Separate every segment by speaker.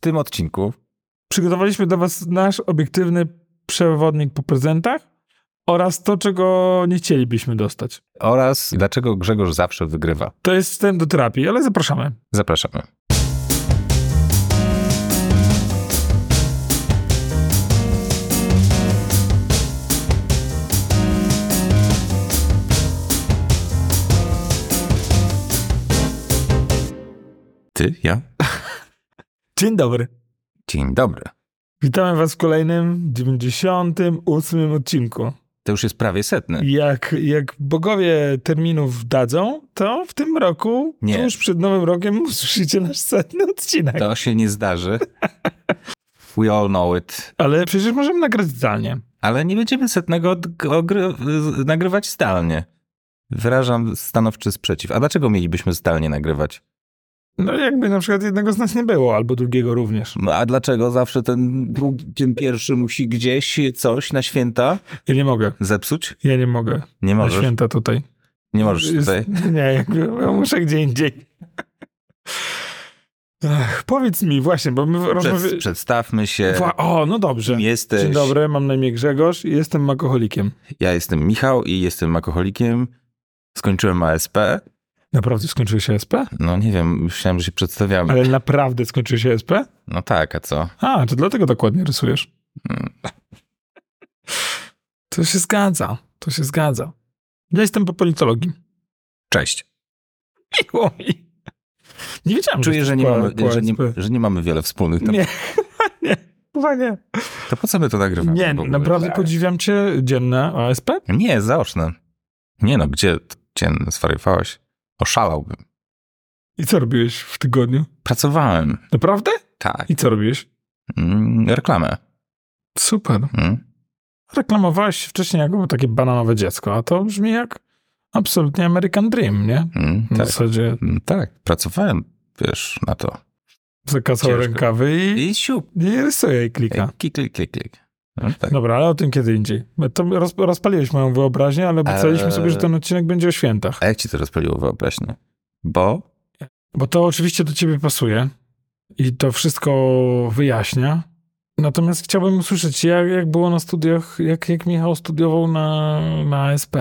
Speaker 1: tym odcinku
Speaker 2: Przygotowaliśmy dla was nasz obiektywny przewodnik po prezentach oraz to, czego nie chcielibyśmy dostać.
Speaker 1: oraz dlaczego Grzegorz zawsze wygrywa.
Speaker 2: To jest wstęp do terapii, ale zapraszamy.
Speaker 1: Zapraszamy.
Speaker 3: Ty? Ja?
Speaker 2: Dzień dobry.
Speaker 1: Dzień dobry.
Speaker 2: Witamy was w kolejnym 98 odcinku.
Speaker 1: To już jest prawie setny.
Speaker 2: Jak, jak bogowie terminów dadzą, to w tym roku,
Speaker 1: Nie. Tak.
Speaker 2: tuż przed nowym rokiem, usłyszycie nasz setny odcinek.
Speaker 1: To się nie zdarzy. We all know it.
Speaker 2: Ale przecież możemy nagrać zdalnie.
Speaker 1: Ale nie będziemy setnego od- ogry- z- nagrywać zdalnie. Wyrażam stanowczy sprzeciw. A dlaczego mielibyśmy zdalnie nagrywać?
Speaker 2: No jakby na przykład jednego z nas nie było, albo drugiego również.
Speaker 1: No, A dlaczego zawsze ten, drugi, ten pierwszy musi gdzieś coś na święta
Speaker 2: Ja nie mogę.
Speaker 1: zepsuć?
Speaker 2: Ja nie mogę.
Speaker 1: Nie
Speaker 2: Na
Speaker 1: możesz.
Speaker 2: święta tutaj.
Speaker 1: Nie możesz
Speaker 2: Jest-
Speaker 1: tutaj.
Speaker 2: Nie, jakby, ja muszę gdzie indziej. Ach, powiedz mi właśnie, bo my
Speaker 1: Przed,
Speaker 2: rozmawiamy...
Speaker 1: przedstawmy się.
Speaker 2: Wła- O, no dobrze.
Speaker 1: Kim jesteś?
Speaker 2: Dzień dobry, mam na imię Grzegorz i jestem makoholikiem.
Speaker 1: Ja jestem Michał i jestem alkoholikiem. Skończyłem ASP.
Speaker 2: Naprawdę skończyłeś SP?
Speaker 1: No nie wiem, myślałem, że się przedstawiamy.
Speaker 2: Ale naprawdę skończyłeś SP?
Speaker 1: No tak, a co?
Speaker 2: A, to dlatego dokładnie rysujesz.
Speaker 1: Mm.
Speaker 2: To się zgadza, to się zgadza. Ja jestem po politologii.
Speaker 1: Cześć.
Speaker 2: Miło mi. Nie wiedziałem,
Speaker 1: Czuję,
Speaker 2: jesteś
Speaker 1: że nie,
Speaker 2: po-
Speaker 1: mamy,
Speaker 2: po
Speaker 1: że, nie,
Speaker 2: SP.
Speaker 1: że nie mamy wiele wspólnych. tematów.
Speaker 2: Nie, nie, chyba nie.
Speaker 1: To po co my to nagrywamy?
Speaker 2: Nie,
Speaker 1: w ogóle?
Speaker 2: naprawdę podziwiam cię dzienne OSP.
Speaker 1: Nie, zaoczne. Nie no, gdzie, gdzie zwariowałeś? Oszalałbym.
Speaker 2: I co robiłeś w tygodniu?
Speaker 1: Pracowałem.
Speaker 2: Naprawdę?
Speaker 1: Tak.
Speaker 2: I co robiłeś?
Speaker 1: Mm, reklamę.
Speaker 2: Super.
Speaker 1: Mm.
Speaker 2: Reklamowałeś się wcześniej jako takie bananowe dziecko, a to brzmi jak absolutnie American Dream, nie?
Speaker 1: Mm,
Speaker 2: W
Speaker 1: tak.
Speaker 2: zasadzie
Speaker 1: Mm, tak, pracowałem, wiesz, na to.
Speaker 2: zakasał
Speaker 1: Ciężko.
Speaker 2: rękawy i,
Speaker 1: I siup.
Speaker 2: i rysuje i
Speaker 1: Ej,
Speaker 2: klika.
Speaker 1: Klik, klik, klik, klik. No, tak.
Speaker 2: Dobra, ale o tym kiedy indziej. To roz, rozpaliłeś moją wyobraźnię, ale obiecaliśmy
Speaker 1: Eee.
Speaker 2: sobie, że ten odcinek będzie o świętach.
Speaker 1: A jak ci to rozpaliło wyobraźnię? Bo
Speaker 2: Bo to oczywiście do ciebie pasuje i to wszystko wyjaśnia. Natomiast chciałbym usłyszeć, jak, jak było na studiach, jak, jak Michał studiował na, na ASP.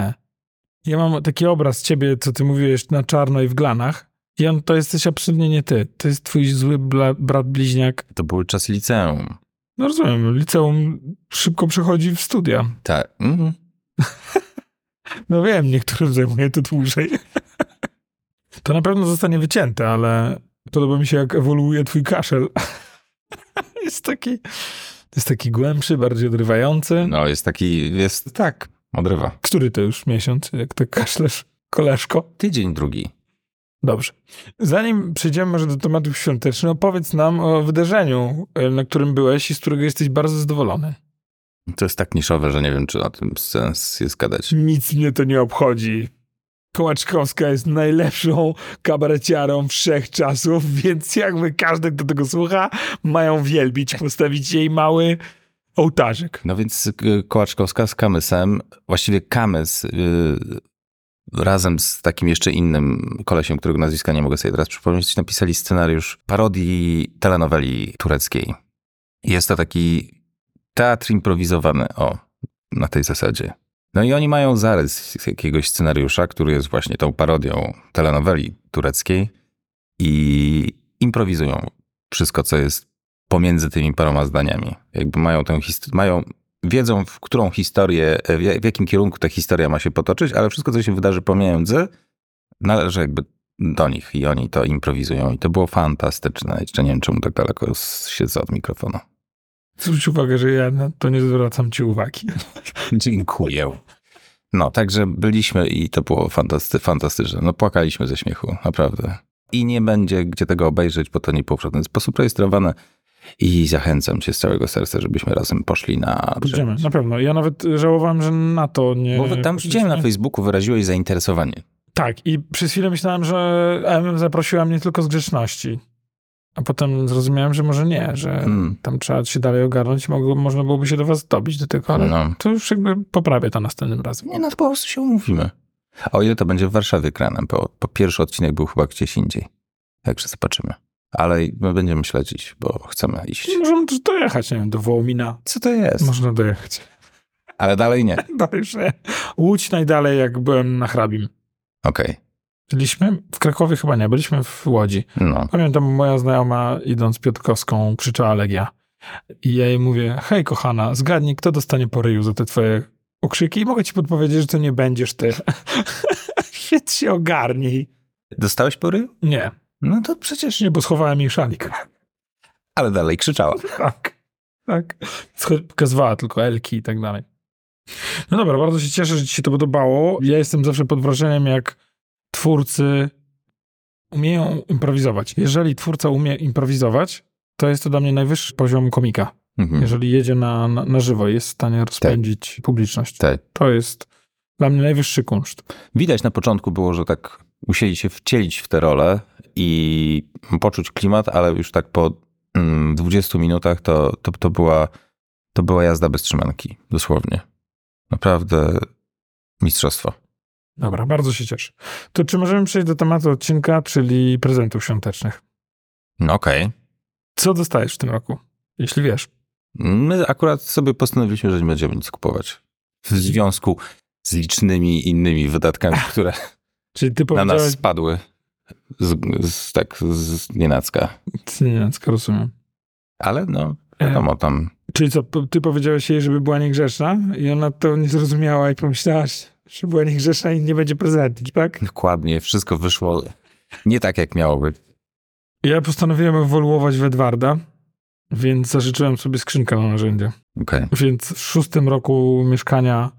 Speaker 2: Ja mam taki obraz ciebie, co ty mówiłeś, na czarno i w glanach. I on, to jesteś absolutnie nie ty. To jest twój zły bla, brat bliźniak.
Speaker 1: to były czasy liceum.
Speaker 2: No rozumiem, liceum szybko przechodzi w studia.
Speaker 1: Tak. Mhm.
Speaker 2: No wiem, niektórym zajmuje to dłużej. To na pewno zostanie wycięte, ale podoba mi się, jak ewoluuje twój kaszel. Jest taki, jest taki głębszy, bardziej odrywający.
Speaker 1: No, jest taki, jest tak, odrywa.
Speaker 2: Który to już miesiąc, jak tak kaszlesz, koleżko?
Speaker 1: Tydzień drugi.
Speaker 2: Dobrze. Zanim przejdziemy może do tematów świątecznych, opowiedz nam o wydarzeniu, y, na którym byłeś i z którego jesteś bardzo zadowolony.
Speaker 1: To jest tak niszowe, że nie wiem, czy o tym sens jest gadać.
Speaker 2: Nic mnie to nie obchodzi. Kołaczkowska jest najlepszą kabareciarą wszechczasów, więc jakby każdy, kto tego słucha, mają wielbić, postawić jej mały ołtarzyk.
Speaker 1: No więc y, Kołaczkowska z Kamysem, właściwie Kamys y, razem z takim jeszcze innym kolesiem, którego nazwiska nie mogę sobie teraz przypomnieć, napisali scenariusz parodii telenoweli tureckiej. Jest to taki teatr improwizowany, o, na tej zasadzie. No i oni mają zarys jakiegoś scenariusza, który jest właśnie tą parodią telenoweli tureckiej i improwizują wszystko, co jest pomiędzy tymi paroma zdaniami. Jakby mają tę historię, mają, wiedzą w którą historię, w ja- w jakim kierunku ta historia ma się potoczyć, ale wszystko, co się wydarzy pomiędzy, należy jakby do nich i oni to improwizują i to było fantastyczne. Jeszcze nie wiem, czemu tak daleko s- siedzę od mikrofonu.
Speaker 2: Zwróć uwagę, że ja na to nie zwracam ci uwagi.
Speaker 1: Dziękuję. No, także byliśmy i to było fantasty, fantastyczne. No, płakaliśmy ze śmiechu, naprawdę. I nie będzie gdzie tego obejrzeć, bo to nie było w żaden sposób rejestrowane. I zachęcam cię z całego serca, żebyśmy razem poszli na...
Speaker 2: Pójdziemy, na pewno. Ja nawet żałowałem, że na to nie...
Speaker 1: Bo wy tam widziałem na Facebooku, wyraziłeś zainteresowanie.
Speaker 2: Tak, i przez chwilę myślałem, że MM zaprosiła mnie tylko z grzeczności. A potem zrozumiałem, że może nie, że
Speaker 1: Mm.
Speaker 2: tam trzeba się dalej ogarnąć. Mogło, można byłoby się do was dobić do tego, ale
Speaker 1: No.
Speaker 2: to już jakby poprawię to następnym razem.
Speaker 1: Nie, no to po prostu się umówimy. A o ile to będzie w Warszawie kranem, bo, bo pierwszy odcinek był chyba gdzieś indziej. Także zobaczymy. ale my będziemy śledzić, bo chcemy iść.
Speaker 2: Możemy też dojechać, nie wiem, do Wołomina.
Speaker 1: Co to jest?
Speaker 2: Można dojechać.
Speaker 1: Ale dalej nie.
Speaker 2: Dalej, że Łódź najdalej, jak byłem na hrabim.
Speaker 1: Okej.
Speaker 2: Byliśmy w Krakowie chyba nie, byliśmy w Łodzi.
Speaker 1: No.
Speaker 2: Pamiętam, moja znajoma idąc Piotrkowską krzyczała Legia. I ja jej mówię, hej kochana, zgadnij, kto dostanie po ryju za te twoje okrzyki i mogę ci podpowiedzieć, że to nie będziesz ty. Więc się ogarnij.
Speaker 1: Dostałeś pory?
Speaker 2: Nie,
Speaker 1: No to przecież nie.
Speaker 2: nie, bo schowałem jej szalik.
Speaker 1: Ale dalej krzyczała.
Speaker 2: Tak, tak. Scho- Pokazywała tylko Elki i tak dalej. No dobra, bardzo się cieszę, że ci się to podobało. Ja jestem zawsze pod wrażeniem, jak twórcy umieją improwizować. Jeżeli twórca umie improwizować, to jest to dla mnie najwyższy poziom komika.
Speaker 1: Mhm.
Speaker 2: Jeżeli jedzie na, na, na żywo, jest w stanie rozpędzić publiczność.
Speaker 1: Tak.
Speaker 2: To jest dla mnie najwyższy kunszt.
Speaker 1: Widać na początku było, że tak musieli się wcielić w tę rolę i poczuć klimat, ale już tak po mm, 20 minutach to, to, to, była, to była jazda bez trzymanki, dosłownie. Naprawdę mistrzostwo.
Speaker 2: Dobra, bardzo się cieszę. To czy możemy przejść do tematu odcinka, czyli prezentów świątecznych?
Speaker 1: No okej.
Speaker 2: Co dostajesz w tym roku, jeśli wiesz?
Speaker 1: My akurat sobie postanowiliśmy, że nie będziemy nic kupować. W związku z licznymi innymi wydatkami, które
Speaker 2: Czyli ty
Speaker 1: na nas
Speaker 2: powiedziałeś...
Speaker 1: spadły z, z, tak z nienacka.
Speaker 2: Cyniacka, rozumiem. E,
Speaker 1: Ale no, wiadomo tam.
Speaker 2: Czyli co, po- ty powiedziałeś jej, żeby była niegrzeczna i ona to nie zrozumiała i pomyślałaś, że była niegrzeczna i nie będzie prezentów, tak?
Speaker 1: Dokładnie, wszystko wyszło nie tak, jak miało być.
Speaker 2: Ja postanowiłem ewoluować w Edwarda, więc zażyczyłem sobie skrzynkę na narzędzia.
Speaker 1: Okej.
Speaker 2: Więc w szóstym roku mieszkania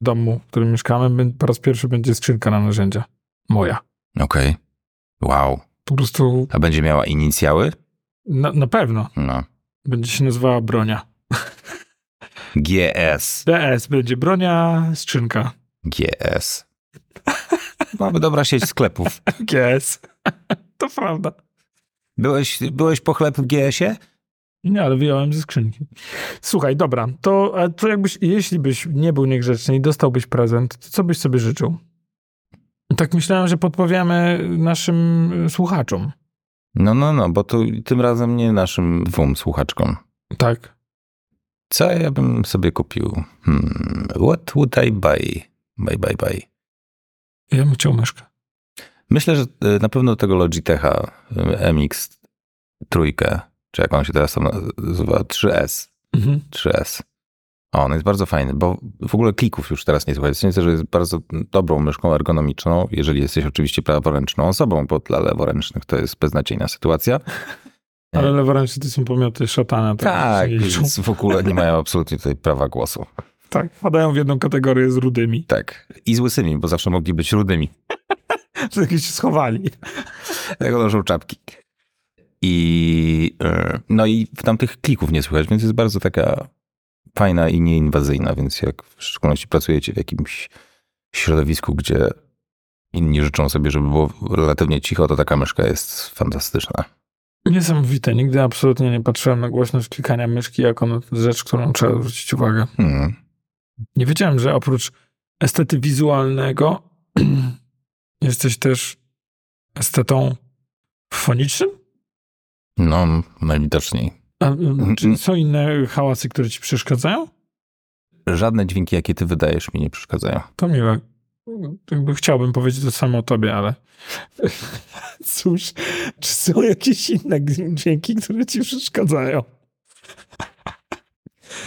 Speaker 2: domu, w którym mieszkamy, bę- po raz pierwszy będzie skrzynka na narzędzia. Moja.
Speaker 1: Okej. Wow.
Speaker 2: Po prostu
Speaker 1: A będzie miała inicjały?
Speaker 2: na, na pewno
Speaker 1: No.
Speaker 2: będzie się nazywała bronia.
Speaker 1: GS.
Speaker 2: BS będzie bronia, skrzynka.
Speaker 1: GS. Mamy dobra sieć sklepów.
Speaker 2: Yes. Tak to prawda.
Speaker 1: Byłeś, byłeś po chleb w GS-ie?
Speaker 2: Nie, ale wyjąłem ze skrzynki. Słuchaj, dobra, to, a to jakbyś, jeśli byś nie był niegrzeczny i dostałbyś prezent, to co byś sobie życzył? Tak myślałem, że podpowiemy naszym y, słuchaczom.
Speaker 1: No, no, no, bo tu tym razem nie naszym dwóm słuchaczkom.
Speaker 2: Tak.
Speaker 1: Co ja bym sobie kupił? Hmm, what would I buy? Buy, buy, buy.
Speaker 2: Ja bym chciał myszkę.
Speaker 1: Myślę, że y, na pewno tego Logitecha y, MX trójkę, czy jak on się teraz tam nazywa, 3S.
Speaker 2: Mhm.
Speaker 1: 3S. O, on jest bardzo fajny, bo w ogóle klików już teraz nie słychać. Sądzę, że jest bardzo dobrą myszką ergonomiczną, jeżeli jesteś oczywiście praworęczną osobą, bo dla leworęcznych to jest beznadziejna sytuacja.
Speaker 2: Ale leworęczny to są pomioty szatana.
Speaker 1: Tak,
Speaker 2: się liczą.
Speaker 1: więc w ogóle nie mają absolutnie tutaj prawa głosu.
Speaker 2: tak. Wpadają w jedną kategorię z rudymi.
Speaker 1: Tak. I z łysymi, bo zawsze mogli być rudymi.
Speaker 2: Że jakieś się schowali.
Speaker 1: Tego noszą czapki. I e, no i tam tych klików nie słychać, więc jest bardzo taka fajna i nieinwazyjna, więc jak w szczególności pracujecie w jakimś środowisku, gdzie inni życzą sobie, żeby było relatywnie cicho, to taka myszka jest fantastyczna.
Speaker 2: Niesamowite. Nigdy absolutnie nie patrzyłem na głośność klikania myszki jako na rzecz, którą trzeba zwrócić uwagę.
Speaker 1: Hmm.
Speaker 2: Nie wiedziałem, że oprócz estety wizualnego jesteś też estetą fonicznym?
Speaker 1: No, najwidoczniej.
Speaker 2: A, y, czy są inne hałasy, które ci przeszkadzają?
Speaker 1: Żadne dźwięki, jakie ty wydajesz, mi nie przeszkadzają.
Speaker 2: To miłe. Jakby chciałbym powiedzieć to samo o tobie, ale cóż, czy są jakieś inne dźwięki, które ci przeszkadzają?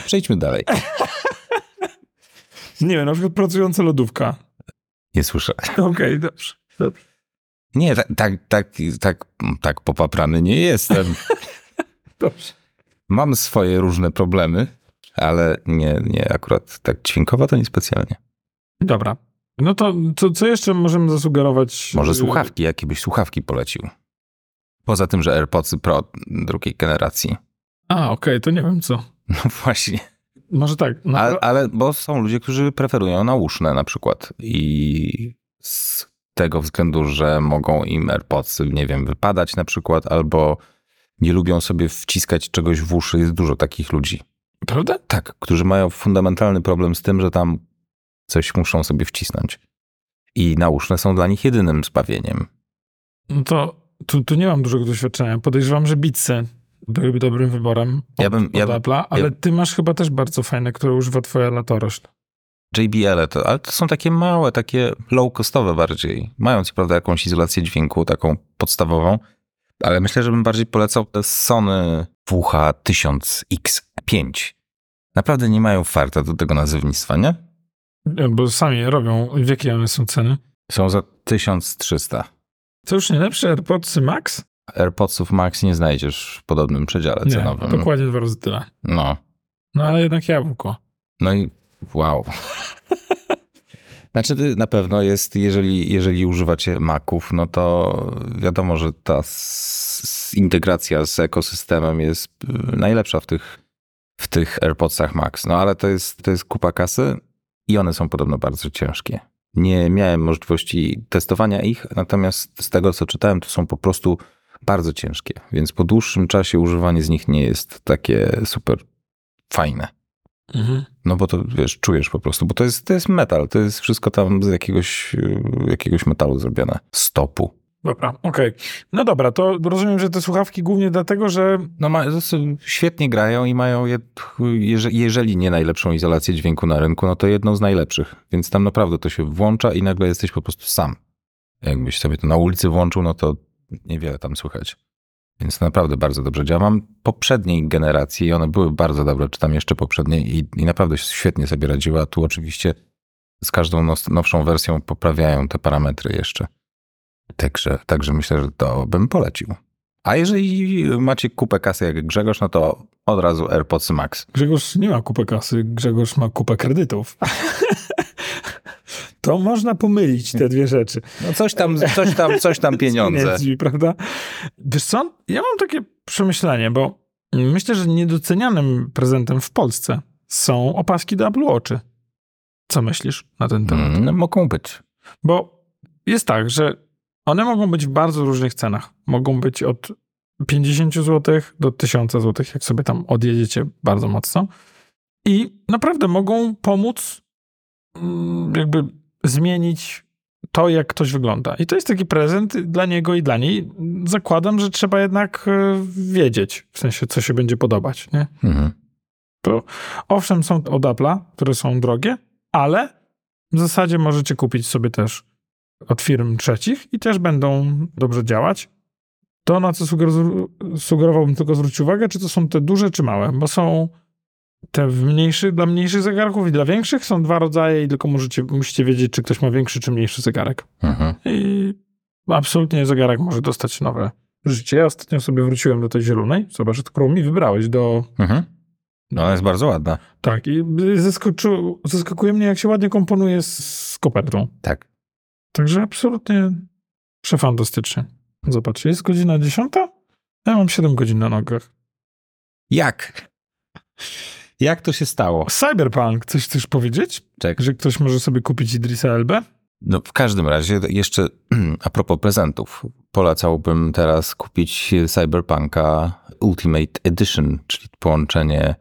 Speaker 1: Przejdźmy dalej.
Speaker 2: Nie wiem, na przykład pracująca lodówka.
Speaker 1: Nie słyszę.
Speaker 2: Okej, dobrze.
Speaker 1: Nie, tak, tak, tak, tak, tak popaprany nie jestem.
Speaker 2: Dobrze.
Speaker 1: Mam swoje różne problemy, ale nie, nie, akurat tak dźwiękowa to niespecjalnie.
Speaker 2: Dobra. No to co, co jeszcze możemy zasugerować?
Speaker 1: Może
Speaker 2: Y,
Speaker 1: słuchawki, jakie byś słuchawki polecił? Poza tym, że AirPods Pro drugiej generacji.
Speaker 2: A, okej, to nie wiem co.
Speaker 1: No właśnie.
Speaker 2: Może tak. Na,
Speaker 1: Ale, ale bo są ludzie, którzy preferują nauszne na przykład i z tego względu, że mogą im AirPods, nie wiem, wypadać na przykład, albo nie lubią sobie wciskać czegoś w uszy. Jest dużo takich ludzi.
Speaker 2: Prawda?
Speaker 1: Tak, którzy mają fundamentalny problem z tym, że tam coś muszą sobie wcisnąć. I nauszne są dla nich jedynym zbawieniem.
Speaker 2: No to Tu, tu nie mam dużego doświadczenia. Podejrzewam, że Bitsy byłyby dobrym wyborem od,
Speaker 1: Ja bym-
Speaker 2: od
Speaker 1: ja bym-
Speaker 2: Apple'a, ale ty masz chyba też bardzo fajne, które używa twoja latorośl.
Speaker 1: JBL, to, ale to są takie małe, takie low-costowe bardziej. Mają co prawda jakąś izolację dźwięku, taką podstawową, ale myślę, że bym bardziej polecał te Sony WH1000X5. Naprawdę nie mają farta do tego nazewnictwa, nie?
Speaker 2: Nie, Bo sami robią, w jakie one są ceny.
Speaker 1: Są za 1300.
Speaker 2: To już nie lepsze AirPodsy Max?
Speaker 1: AirPodsów Max nie znajdziesz w podobnym przedziale
Speaker 2: Nie,
Speaker 1: cenowym.
Speaker 2: dokładnie dwa razy tyle.
Speaker 1: No.
Speaker 2: No ale jednak jabłko.
Speaker 1: No i wow. Znaczy ty- na pewno jest, jeżeli, jeżeli używacie Maców, no to wiadomo, że ta s- s- integracja z ekosystemem jest y, najlepsza w tych, w tych AirPodsach Max. No ale to jest, to jest kupa kasy i one są podobno bardzo ciężkie. Nie miałem możliwości testowania ich, natomiast z tego co czytałem, to są po prostu bardzo ciężkie, więc po dłuższym czasie używanie z nich nie jest takie super fajne.
Speaker 2: Mhm.
Speaker 1: No bo to wiesz, czujesz po prostu, bo to jest, to jest metal, to jest wszystko tam z jakiegoś, y, jakiegoś metalu zrobione. Stopu.
Speaker 2: Dobra, okej. No dobra, to rozumiem, że te słuchawki głównie dlatego, że
Speaker 1: No ma, to są- świetnie grają i mają, jed, jeże- jeżeli nie najlepszą izolację dźwięku na rynku, no to jedną z najlepszych. Więc tam naprawdę to się włącza i nagle jesteś po prostu sam. Jakbyś sobie to na ulicy włączył, no to niewiele tam słychać. Więc naprawdę bardzo dobrze działa. Mam poprzedniej generacji i one były bardzo dobre, czy tam jeszcze poprzedniej i, i naprawdę świetnie sobie radziły, a tu oczywiście z każdą nos- nowszą wersją poprawiają te parametry jeszcze. Także, także myślę, że to bym polecił. A jeżeli macie kupę kasy jak Grzegorz, no to od razu AirPods Max.
Speaker 2: Grzegorz nie ma kupy kasy, Grzegorz ma kupę kredytów. to można pomylić te dwie rzeczy.
Speaker 1: No coś tam, coś tam, coś tam pieniądze.
Speaker 2: Pieniędzmi, prawda? Wiesz co, ja mam takie przemyślenie, bo myślę, że niedocenianym prezentem w Polsce są opaski do Apple Watchy. Co myślisz na ten temat?
Speaker 1: Mm, No, mogą być.
Speaker 2: Bo jest tak, że one mogą być w bardzo różnych cenach. Mogą być od 50 zł do 1000 zł, jak sobie tam odjedziecie bardzo mocno. I naprawdę mogą pomóc mm, jakby zmienić to, jak ktoś wygląda. I to jest taki prezent dla niego i dla niej. Zakładam, że trzeba jednak y, wiedzieć, w sensie, co się będzie podobać, nie?
Speaker 1: Mhm.
Speaker 2: Owszem, są od Apple'a, które są drogie, ale w zasadzie możecie kupić sobie też od firm trzecich i też będą dobrze działać. To, na co suger- sugerowałbym tylko zwrócić uwagę, czy to są te duże, czy małe, bo są te w mniejszych, dla mniejszych zegarków i dla większych są dwa rodzaje i tylko możecie, musicie wiedzieć, czy ktoś ma większy, czy mniejszy zegarek.
Speaker 1: Mhm.
Speaker 2: I absolutnie zegarek może dostać nowe życie. Ja ostatnio sobie wróciłem do tej zielonej, zobacz, którą mi wybrałeś, do
Speaker 1: Mhm. No, ona jest bardzo ładna.
Speaker 2: tak, i zaskoczy, zaskakuje mnie, jak się ładnie komponuje z, z kopertą.
Speaker 1: Tak.
Speaker 2: Także absolutnie przefantastycznie. Zobaczcie, jest godzina 10. Ja mam 7 godzin na nogach.
Speaker 1: Jak? Jak to się stało?
Speaker 2: Cyberpunk, coś chcesz powiedzieć?
Speaker 1: Czekaj.
Speaker 2: Że ktoś może sobie kupić Idrisa Elbę?
Speaker 1: No, w każdym razie, jeszcze a propos prezentów, polecałbym teraz kupić Cyberpunka Ultimate Edition, czyli połączenie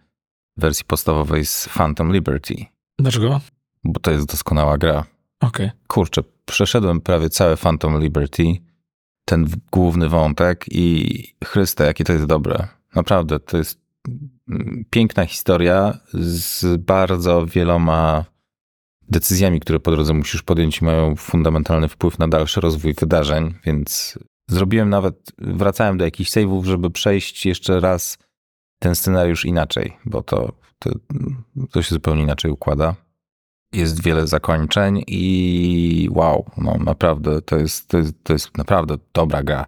Speaker 1: wersji podstawowej z Phantom Liberty,
Speaker 2: Dlaczego?
Speaker 1: bo to jest doskonała gra.
Speaker 2: Okej.
Speaker 1: kurczę, przeszedłem prawie całe Phantom Liberty, ten w- główny wątek i Chryste, jakie to jest dobre. Naprawdę, to jest mm, piękna historia z bardzo wieloma decyzjami, które po drodze musisz podjąć i mają fundamentalny wpływ na dalszy rozwój wydarzeń, więc zrobiłem nawet, wracałem do jakichś save'ów, żeby przejść jeszcze raz ten scenariusz inaczej, bo to, to, to się zupełnie inaczej układa jest wiele zakończeń i wow, no naprawdę, to jest, to jest, to jest naprawdę dobra gra.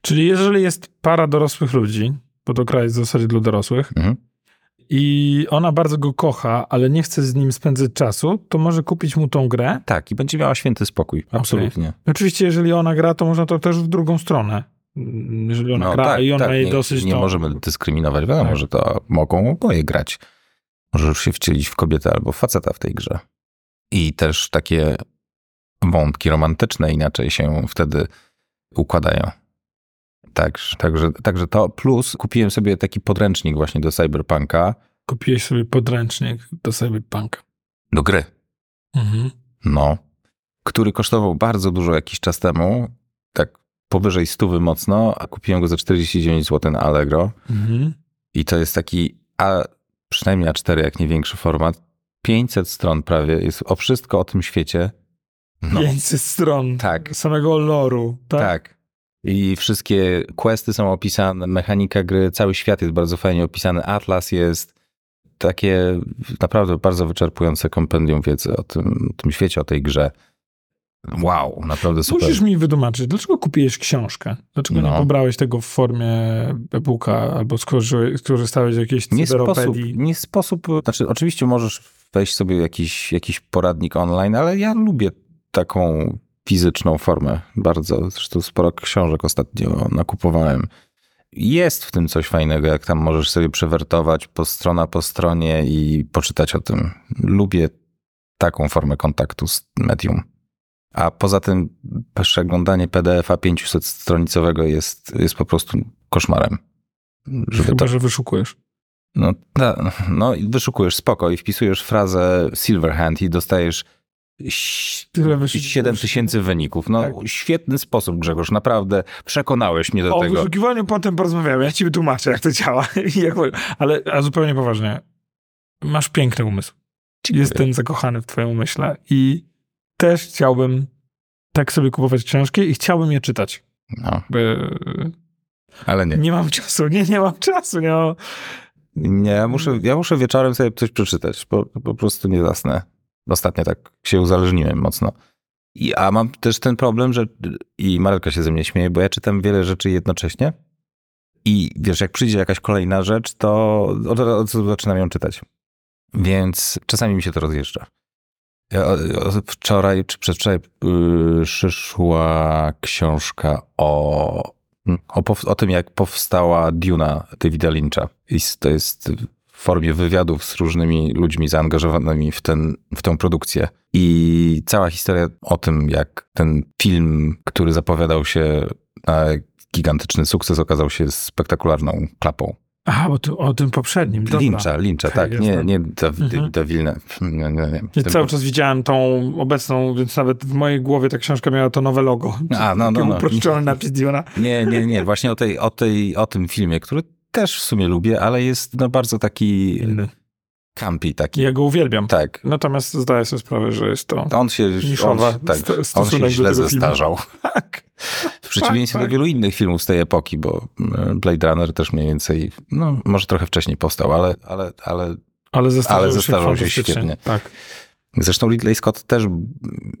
Speaker 2: Czyli jeżeli jest para dorosłych ludzi, bo to kraj jest w zasadzie dla dorosłych,
Speaker 1: Mhm.
Speaker 2: i ona bardzo go kocha, ale nie chce z nim spędzać czasu, to może kupić mu tą grę
Speaker 1: Tak, i będzie miała święty spokój, absolutnie.
Speaker 2: Oczywiście, jeżeli ona gra, to można to też w drugą stronę. Mm, Jeżeli ona gra i ona
Speaker 1: No
Speaker 2: jej
Speaker 1: tak, nie,
Speaker 2: dosyć.
Speaker 1: Nie
Speaker 2: to...
Speaker 1: możemy dyskryminować, wiadomo,
Speaker 2: Tak.
Speaker 1: że to mogą oboje grać. Możesz się wcielić w kobietę albo w faceta w tej grze. I też takie wątki romantyczne inaczej się wtedy układają. Także, także, także to, plus kupiłem sobie taki podręcznik właśnie do Cyberpunka,
Speaker 2: Kupiłeś sobie podręcznik do Cyberpunka.
Speaker 1: do gry.
Speaker 2: Mhm.
Speaker 1: No. Który kosztował bardzo dużo jakiś czas temu. Tak powyżej stówy mocno, a kupiłem go za 49 zł na Allegro.
Speaker 2: Mhm.
Speaker 1: I to jest taki, a przynajmniej A4, jak nie większy format. 500 stron prawie, jest o wszystko o tym świecie. No,
Speaker 2: 500 stron
Speaker 1: tak,
Speaker 2: samego loru, tak?
Speaker 1: tak. I wszystkie questy są opisane, mechanika gry, cały świat jest bardzo fajnie opisany, atlas jest. Takie naprawdę bardzo wyczerpujące kompendium wiedzy o tym, tym świecie, o tej grze. Wow, naprawdę super.
Speaker 2: Musisz mi wytłumaczyć, dlaczego kupiłeś książkę? Dlaczego nie
Speaker 1: No.
Speaker 2: pobrałeś tego w formie e-booka albo skorzy- skorzystałeś z jakiejś
Speaker 1: Nie sposób,
Speaker 2: cyberopedii?
Speaker 1: nie sposób, znaczy oczywiście możesz wejść sobie w jakiś, jakiś poradnik online, ale ja lubię taką fizyczną formę bardzo. Zresztą sporo książek ostatnio nakupowałem. Jest w tym coś fajnego, jak tam możesz sobie przewertować po strona po stronie i poczytać o tym. Lubię taką formę kontaktu z medium. A poza tym przeglądanie PDF-a 500-stronicowego jest, jest po prostu koszmarem. Żeby tak-
Speaker 2: Chyba,
Speaker 1: to
Speaker 2: że wyszukujesz.
Speaker 1: no, ta, no i wyszukujesz spoko i wpisujesz frazę Silverhand i dostajesz ś-
Speaker 2: Tyle wyszukujesz.
Speaker 1: 7 tysięcy wyników. No,
Speaker 2: Tak.
Speaker 1: świetny sposób, Grzegorz, naprawdę przekonałeś mnie do
Speaker 2: o
Speaker 1: tego.
Speaker 2: wyszukiwaniu potem porozmawiamy, ja ci wytłumaczę, jak to działa. I jak... Ale a zupełnie poważnie, masz piękny umysł. Jestem zakochany w twoim umyśle i też chciałbym tak sobie kupować książki i chciałbym je czytać.
Speaker 1: No,
Speaker 2: By-
Speaker 1: ale nie.
Speaker 2: Nie mam czasu, nie, nie mam czasu. Nie mam...
Speaker 1: Nie, ja muszę, ja muszę wieczorem sobie coś przeczytać, bo po prostu nie zasnę. Ostatnio tak się uzależniłem mocno. I, a mam też ten problem, że i Marelka się ze mnie śmieje, bo ja czytam wiele rzeczy jednocześnie i wiesz, jak przyjdzie jakaś kolejna rzecz, to od razu zaczynam ją czytać. Więc czasami mi się to rozjeżdża. Ja, o- o- Wczoraj czy przedwczoraj yy, przyszła książka o, Mm, o, pow- o tym, jak powstała Duna Davida Lyncha. I s- to jest w formie wywiadów z różnymi ludźmi zaangażowanymi w, ten, w tę produkcję. I cała historia o tym, jak ten film, który zapowiadał się na gigantyczny sukces, okazał się spektakularną klapą.
Speaker 2: Aha, bo tu, o tym poprzednim. dobra.
Speaker 1: Lyncha, Lyncha,
Speaker 2: Okej,
Speaker 1: tak. Nie,
Speaker 2: jasne.
Speaker 1: nie Dawida
Speaker 2: Mhm.
Speaker 1: mhm. Wilne. Nie, nie, nie.
Speaker 2: Ja
Speaker 1: Ten-
Speaker 2: cały czas widziałem tą obecną, więc nawet w mojej głowie ta książka miała to nowe logo.
Speaker 1: A, no, no,
Speaker 2: Takie
Speaker 1: no.
Speaker 2: uproszczone napis Diona.
Speaker 1: Nie, nie, nie. Właśnie o, tej, o, tej, o tym filmie, który też w sumie lubię, ale jest no, bardzo taki campy, taki.
Speaker 2: Ja go uwielbiam.
Speaker 1: Tak.
Speaker 2: Natomiast zdaję sobie sprawę, że jest to...
Speaker 1: On się, on,
Speaker 2: Niszowa
Speaker 1: tak,
Speaker 2: sto-
Speaker 1: on
Speaker 2: stosunek
Speaker 1: się źle
Speaker 2: do tego filmu.
Speaker 1: zestarzał.
Speaker 2: Tak.
Speaker 1: W przeciwieństwie
Speaker 2: tak.
Speaker 1: do wielu innych filmów z tej epoki, bo mm, Blade Runner też mniej więcej, no może trochę wcześniej powstał, ale, ale, ale
Speaker 2: Ale zestarzał,
Speaker 1: Ale zestarzał się
Speaker 2: fantastycznie.
Speaker 1: świetnie.
Speaker 2: Tak.
Speaker 1: Zresztą Ridley Scott też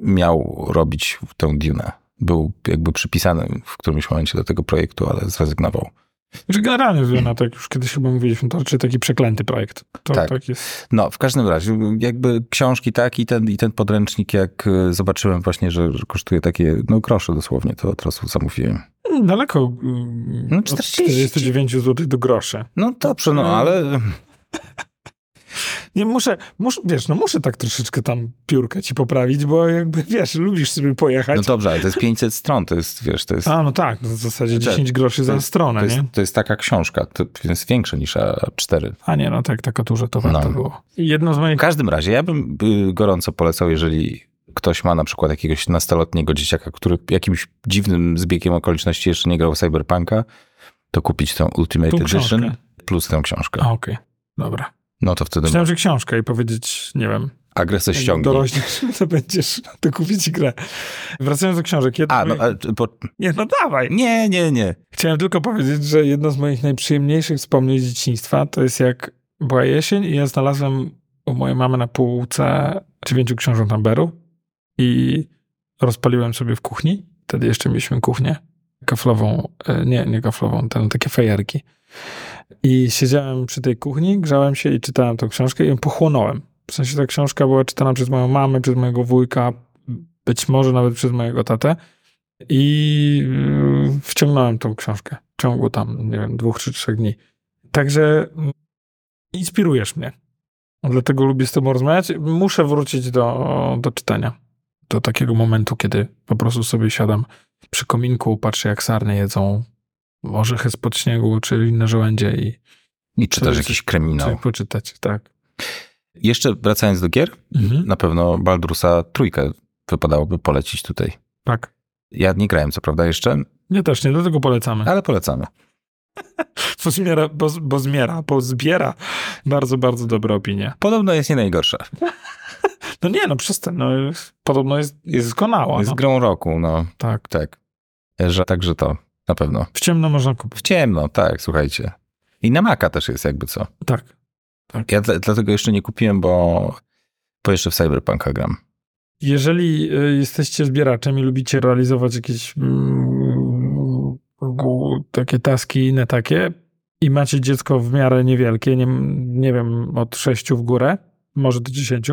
Speaker 1: miał robić tę Dune. Był jakby przypisany w którymś momencie do tego projektu, ale zrezygnował.
Speaker 2: Znaczy generalnie Diona, tak już kiedyś chyba mówiliśmy, to raczej taki przeklęty projekt. To
Speaker 1: Tak.
Speaker 2: tak, jest.
Speaker 1: No, w każdym razie, jakby książki tak i ten, i ten podręcznik, jak e, zobaczyłem właśnie, że że kosztuje takie, no grosze dosłownie, to od razu zamówiłem.
Speaker 2: No, Daleko mm,
Speaker 1: No,
Speaker 2: od
Speaker 1: 40.
Speaker 2: 49 zł do grosza.
Speaker 1: No dobrze, no ale
Speaker 2: Nie muszę, muszę, wiesz, no muszę tak troszeczkę tam piórkę ci poprawić, bo jakby, wiesz, lubisz sobie pojechać.
Speaker 1: no dobrze, ale to jest 500 stron, to jest, wiesz, to jest,
Speaker 2: A, no tak, no w zasadzie
Speaker 1: Znaczy,
Speaker 2: 10 groszy za
Speaker 1: jest-
Speaker 2: stronę,
Speaker 1: to jest,
Speaker 2: nie?
Speaker 1: to jest taka książka, to jest większa niż A4.
Speaker 2: A nie, no tak, taka duża to warto
Speaker 1: No.
Speaker 2: było. Jedno z moich...
Speaker 1: W każdym razie, ja bym y, gorąco polecał, jeżeli ktoś ma na przykład jakiegoś nastoletniego dzieciaka, który jakimś dziwnym zbiegiem okoliczności jeszcze nie grał w Cyberpunka, to kupić tą Ultimate
Speaker 2: Tą
Speaker 1: Edition
Speaker 2: książkę.
Speaker 1: plus tę książkę.
Speaker 2: A, okej. Dobra.
Speaker 1: No to wtedy
Speaker 2: Myślałem, że książkę i powiedzieć, nie wiem,
Speaker 1: agresję
Speaker 2: jak
Speaker 1: ściągnie.
Speaker 2: dorośniesz, to będziesz, to kupić grę. Wracając do książek, jedno
Speaker 1: A,
Speaker 2: z
Speaker 1: no,
Speaker 2: moich...
Speaker 1: ale czy- bo,
Speaker 2: Nie, no dawaj.
Speaker 1: nie, nie, nie.
Speaker 2: Chciałem tylko powiedzieć, że jedno z moich najprzyjemniejszych wspomnień z dzieciństwa to jest jak była jesień i ja znalazłem u mojej mamy na półce dziewięciu książąt Amberu i rozpaliłem sobie w kuchni. Wtedy jeszcze mieliśmy kuchnię kaflową, e, nie, nie kaflową, tam takie fajerki. I siedziałem przy tej kuchni, grzałem się i czytałem tą książkę i ją pochłonąłem. W sensie ta książka była czytana przez moją mamę, przez mojego wujka, być może nawet przez mojego tatę. I yy, wciągnąłem tą książkę w ciągu tam, nie wiem, dwóch czy trzech dni. Także mm, inspirujesz mnie. Dlatego lubię z tobą rozmawiać. Muszę wrócić do, do czytania. Do takiego momentu, kiedy po prostu sobie siadam przy kominku, patrzę jak sarny jedzą orzechy spod śniegu, czy inne żołędzie i
Speaker 1: I czy też
Speaker 2: jest-
Speaker 1: jakiś
Speaker 2: sobie
Speaker 1: kryminał.
Speaker 2: poczytać, tak.
Speaker 1: Jeszcze wracając do gier,
Speaker 2: Mhm.
Speaker 1: na pewno Baldrusa trójkę wypadałoby polecić tutaj.
Speaker 2: Tak.
Speaker 1: Ja nie grałem, co prawda, jeszcze,
Speaker 2: Nie też nie, dlatego polecamy.
Speaker 1: ale polecamy.
Speaker 2: Bo zmiera, bo, bo zmiera, bo zbiera bardzo, bardzo dobre opinie.
Speaker 1: Podobno jest nie najgorsza.
Speaker 2: No nie, no przestań, no podobno jest, jest doskonała.
Speaker 1: Jest
Speaker 2: no.
Speaker 1: grą roku, no
Speaker 2: Tak.
Speaker 1: tak. Że, także to, na pewno.
Speaker 2: W ciemno można kupić.
Speaker 1: W ciemno, tak, słuchajcie. I na Maca też jest jakby co.
Speaker 2: Tak.
Speaker 1: Ja dla- dlatego jeszcze nie kupiłem, bo, bo jeszcze w Cyberpunka gram.
Speaker 2: Jeżeli y, jesteście zbieraczem i lubicie realizować jakieś mm, gu- takie taski i inne takie i macie dziecko w miarę niewielkie, nie, nie wiem, od 6 w górę, może do 10,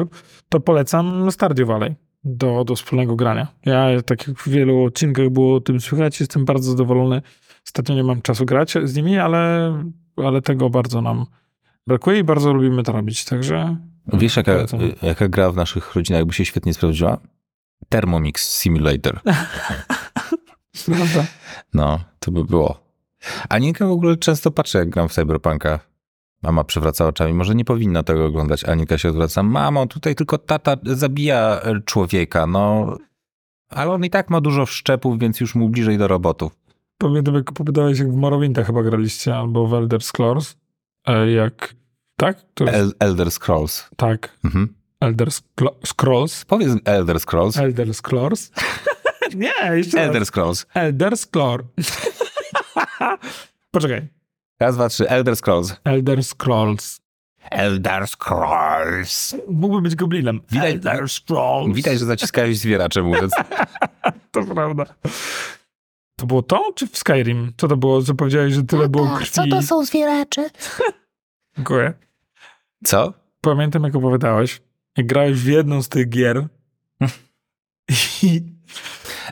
Speaker 2: to polecam Stardew Valley do, do wspólnego grania. Ja, tak jak w wielu odcinkach było o tym słychać, jestem bardzo zadowolony. Ostatnio nie mam czasu grać z nimi, ale, ale tego bardzo nam brakuje i bardzo lubimy to robić, także...
Speaker 1: Wiesz, jaka, y,
Speaker 2: Polecam.
Speaker 1: jaka gra w naszych rodzinach by się świetnie sprawdziła? Thermomix Simulator.
Speaker 2: Prawda.
Speaker 1: No, to by było. A Ninka w ogóle często patrzy, jak gram w Cyberpunka. Mama przewraca oczami, może nie powinna tego oglądać. Anika się odwraca. Mamo, tutaj tylko tata zabija e, człowieka, no. Ale on i tak ma dużo wszczepów, więc już mu bliżej do robotów.
Speaker 2: Pamiętam, jak opowiadałeś, jak w Morrowinda chyba graliście, albo w Elder Scrolls. E, Jak... Tak? To jest,
Speaker 1: El- Elder Scrolls.
Speaker 2: tak.
Speaker 1: Mhm.
Speaker 2: Elder Sclo- Scrolls.
Speaker 1: Powiedz Elder Scrolls.
Speaker 2: Elder Scrolls. Nie, jeszcze Elder,
Speaker 1: Elder Scrolls.
Speaker 2: Elder Scrolls. Poczekaj.
Speaker 1: Raz, dwa, trzy. Elder Scrolls.
Speaker 2: Elder Scrolls.
Speaker 1: Elder Scrolls.
Speaker 2: Mógłby być goblinem.
Speaker 1: Widać-
Speaker 2: Elder Scrolls.
Speaker 1: Widać, że zaciskałeś zwieracze mówiąc.
Speaker 2: To prawda. To było to, czy w Skyrim? Co to było, że powiedziałeś, że tyle było krwi?
Speaker 3: No tak, Co to są zwieracze?
Speaker 2: Dziękuję.
Speaker 1: Co?
Speaker 2: pamiętam, jak opowiadałeś, jak grałeś w jedną z tych gier i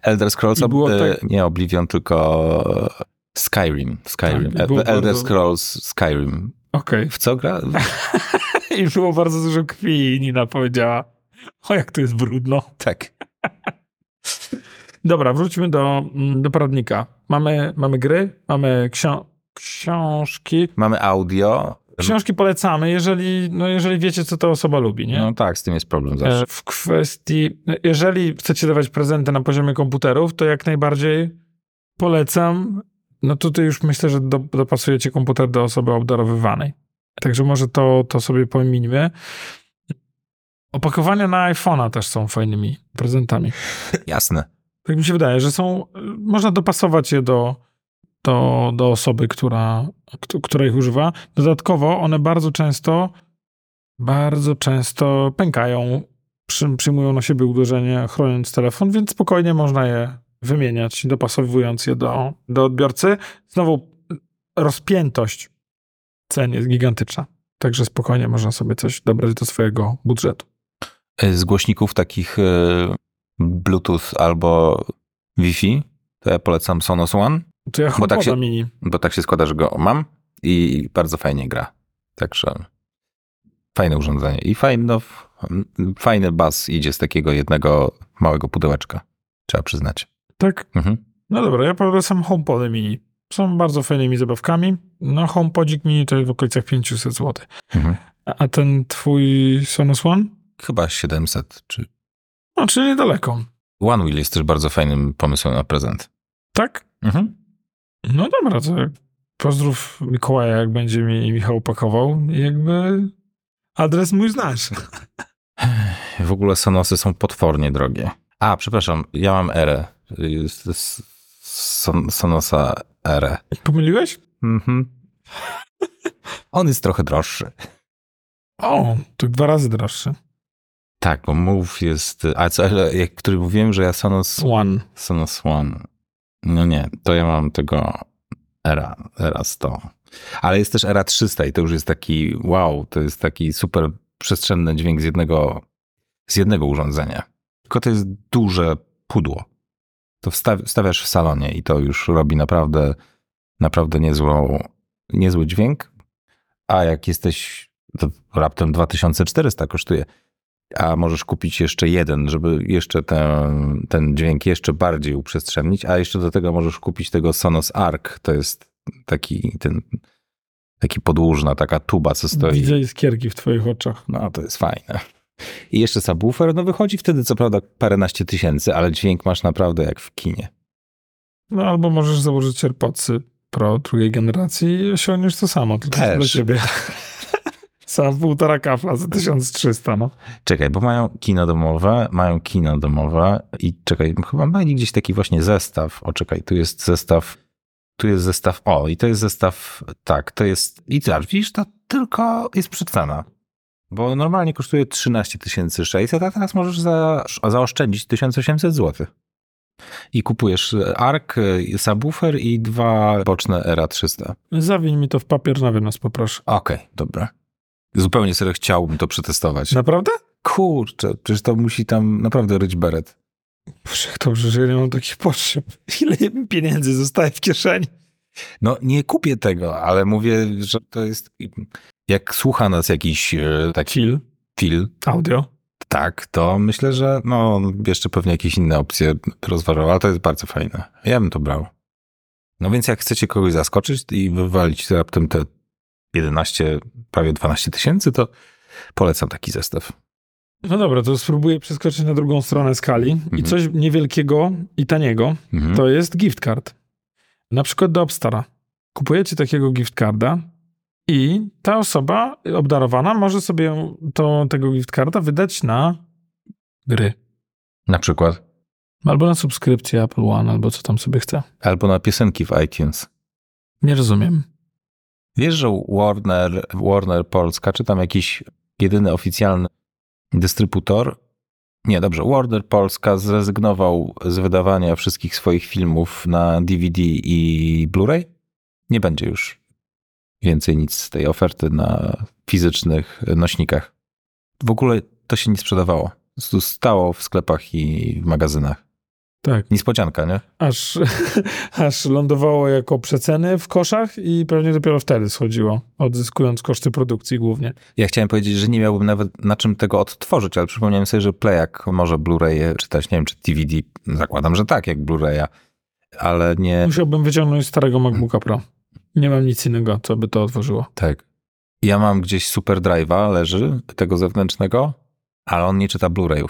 Speaker 1: Elder Scrolls,
Speaker 2: I
Speaker 1: ob-
Speaker 2: było
Speaker 1: e,
Speaker 2: tak-
Speaker 1: nie Oblivion, tylko e, Skyrim. Skyrim.
Speaker 2: Tak, i
Speaker 1: E,
Speaker 2: było
Speaker 1: Elder
Speaker 2: bardzo-
Speaker 1: Scrolls, Skyrim.
Speaker 2: okej.
Speaker 1: W co gra?
Speaker 2: I było bardzo dużo krwi i Nina powiedziała, o jak to jest brudno.
Speaker 1: tak.
Speaker 2: Dobra, wróćmy do, mm, do poradnika. Mamy, mamy gry, mamy ksią- książki.
Speaker 1: Mamy audio.
Speaker 2: Książki polecamy, jeżeli, no jeżeli wiecie, co ta osoba lubi, nie?
Speaker 1: No tak, z tym jest problem zawsze.
Speaker 2: E, W kwestii, no, jeżeli chcecie dawać prezenty na poziomie komputerów, to jak najbardziej polecam. No tutaj już myślę, że do, dopasujecie komputer do osoby obdarowywanej. Także może to, to sobie pominimy. Opakowania na iPhone'a też są fajnymi prezentami.
Speaker 1: Jasne.
Speaker 2: Tak mi się wydaje, że są, można dopasować je do, do, do osoby, która, kt- która ich używa. Dodatkowo one bardzo często, bardzo często pękają, przy, przyjmują na siebie uderzenie, chroniąc telefon, więc spokojnie można je wymieniać, dopasowując je do, do odbiorcy. Znowu rozpiętość cen jest gigantyczna. Także spokojnie można sobie coś dobrać do swojego budżetu.
Speaker 1: E, Z głośników takich e, Bluetooth albo Wi-Fi, to ja polecam Sonos One,
Speaker 2: To ja
Speaker 1: Bo tak
Speaker 2: chyba
Speaker 1: się-
Speaker 2: mini.
Speaker 1: bo tak się składa, że go mam i bardzo fajnie gra. Także fajne urządzenie. I fajny, no, f- fajny bas idzie z takiego jednego małego pudełeczka. Trzeba przyznać.
Speaker 2: Tak,
Speaker 1: Mhm.
Speaker 2: No dobra, ja polecam HomePody mini. Są bardzo fajnymi zabawkami. No HomePodzik mini to jest w okolicach 500 zł.
Speaker 1: Mhm.
Speaker 2: A a ten twój Sonos One?
Speaker 1: Chyba 700 czy...
Speaker 2: No, czyli niedaleko.
Speaker 1: One Wheel jest też bardzo fajnym pomysłem na prezent.
Speaker 2: Tak? No dobra, to jak- pozdrów Mikołaja, jak będzie mi Michał pakował. I Jakby adres mój znasz.
Speaker 1: W ogóle Sonosy są potwornie drogie. A, przepraszam, ja mam erę. Jest- jest Son, Sonosa erę.
Speaker 2: Pomyliłeś?
Speaker 1: Mhm. On jest trochę droższy.
Speaker 2: O, to dwa razy droższy.
Speaker 1: Tak, bo Move jest... A co, ale jak, który mówiłem, że ja Sonos...
Speaker 2: One.
Speaker 1: Sonos One. No nie, to ja mam tego era, era 100. Ale jest też era 300 i to już jest taki wow, to jest taki super przestrzenny dźwięk z jednego, z jednego urządzenia. Tylko to jest duże pudło. To wsta- wstawiasz w salonie i to już robi naprawdę, naprawdę niezłą, niezły dźwięk. A jak jesteś, to raptem 2400 kosztuje a możesz kupić jeszcze jeden, żeby jeszcze ten, ten dźwięk jeszcze bardziej uprzestrzenić, a jeszcze do tego możesz kupić tego Sonos Arc, to jest taki ten, taki podłużna taka tuba, co stoi.
Speaker 2: Widzę iskierki w twoich oczach.
Speaker 1: No, to jest fajne. I jeszcze subwoofer, no wychodzi wtedy co prawda paręnaście tysięcy, ale dźwięk masz naprawdę jak w kinie.
Speaker 2: No albo możesz założyć AirPodsy Pro drugiej generacji i osiągniesz to samo, tylko
Speaker 1: Też.
Speaker 2: dla ciebie. Sam półtora kafla za 1300, no.
Speaker 1: Czekaj, bo mają kino domowe, mają kino domowe i czekaj, chyba mieli gdzieś taki właśnie zestaw. O, czekaj, tu jest zestaw, tu jest zestaw, o, i to jest zestaw, tak, to jest, i tak, widzisz, to tylko jest przecena. Bo normalnie kosztuje 13 600, a teraz możesz za, zaoszczędzić 1800 zł. I kupujesz ARK, subwoofer i dwa boczne E ERA 300.
Speaker 2: Zawiń mi to w papier na wynos, poproszę.
Speaker 1: Okej, dobra. Zupełnie serio chciałbym to przetestować.
Speaker 2: Naprawdę?
Speaker 1: Kurczę, przecież to musi tam naprawdę ryć beret.
Speaker 2: Boże, jak dobrze, że ja nie mam takich potrzeb. Ile mi pieniędzy zostaje w kieszeni?
Speaker 1: No nie kupię tego, ale mówię, że to jest... Jak słucha nas jakiś e, taki
Speaker 2: Chill,
Speaker 1: film,
Speaker 2: audio.
Speaker 1: tak, to myślę, że no jeszcze pewnie jakieś inne opcje rozważał, ale to jest bardzo fajne. Ja bym to brał. No więc jak chcecie kogoś zaskoczyć i wywalić raptem te 11, prawie 12 tysięcy, to polecam taki zestaw.
Speaker 2: No dobra, to spróbuję przeskoczyć na drugą stronę skali i
Speaker 1: Mhm.
Speaker 2: coś niewielkiego i taniego
Speaker 1: Mhm.
Speaker 2: to jest gift card. Na przykład do Upstara. Kupujecie takiego gift carda i ta osoba obdarowana może sobie to, tego gift carda wydać na gry.
Speaker 1: Na przykład.
Speaker 2: Albo na subskrypcję Apple One, albo co tam sobie chce.
Speaker 1: Albo na piosenki w iTunes.
Speaker 2: Nie rozumiem.
Speaker 1: Wiesz, że Warner, Warner Polska, czy tam jakiś jedyny oficjalny dystrybutor? Nie, dobrze. Warner Polska zrezygnował z wydawania wszystkich swoich filmów na DVD i Blu-ray. Nie będzie już więcej nic z tej oferty na fizycznych nośnikach. W ogóle to się nie sprzedawało. Po prostu Stało w sklepach i w magazynach.
Speaker 2: Tak.
Speaker 1: Niespodzianka, nie?
Speaker 2: Aż, aż lądowało jako przeceny w koszach i pewnie dopiero wtedy schodziło, odzyskując koszty produkcji głównie.
Speaker 1: Ja chciałem powiedzieć, że nie miałbym nawet na czym tego odtworzyć, ale przypomniałem sobie, że Playak może Blu-raye czytać, nie wiem, czy DVD, zakładam, że tak, jak Blu-raya, ale nie...
Speaker 2: Musiałbym wyciągnąć starego MacBooka Pro. Nie mam nic innego, co by to otworzyło.
Speaker 1: Tak. Ja mam gdzieś Super Drive'a, leży, tego zewnętrznego, ale on nie czyta Blu-rayów.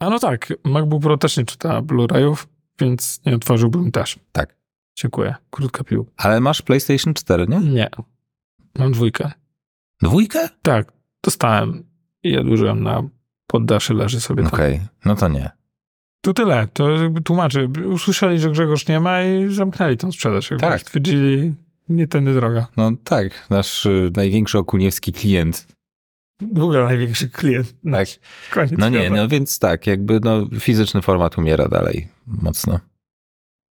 Speaker 2: A no tak, MacBook Pro też nie czyta Blu-rayów, więc nie otworzyłbym też.
Speaker 1: Tak.
Speaker 2: Dziękuję. Krótka piłka.
Speaker 1: Ale masz PlayStation 4, nie?
Speaker 2: Nie. Mam dwójkę.
Speaker 1: Dwójkę?
Speaker 2: Tak, dostałem i ja dłużyłem na poddaszy, leży sobie tam.
Speaker 1: Okej, no to nie.
Speaker 2: To tyle. To jakby tłumaczy. Usłyszeli, że Grzegorz nie ma i zamknęli tą sprzedaż. Jakby
Speaker 1: Tak.
Speaker 2: Stwierdzili, nie tędy droga.
Speaker 1: No tak, nasz y, największy okuniewski klient.
Speaker 2: W ogóle największy klient.
Speaker 1: Tak.
Speaker 2: Koniec
Speaker 1: No nie,
Speaker 2: świata.
Speaker 1: no więc tak, jakby no, fizyczny format umiera dalej mocno.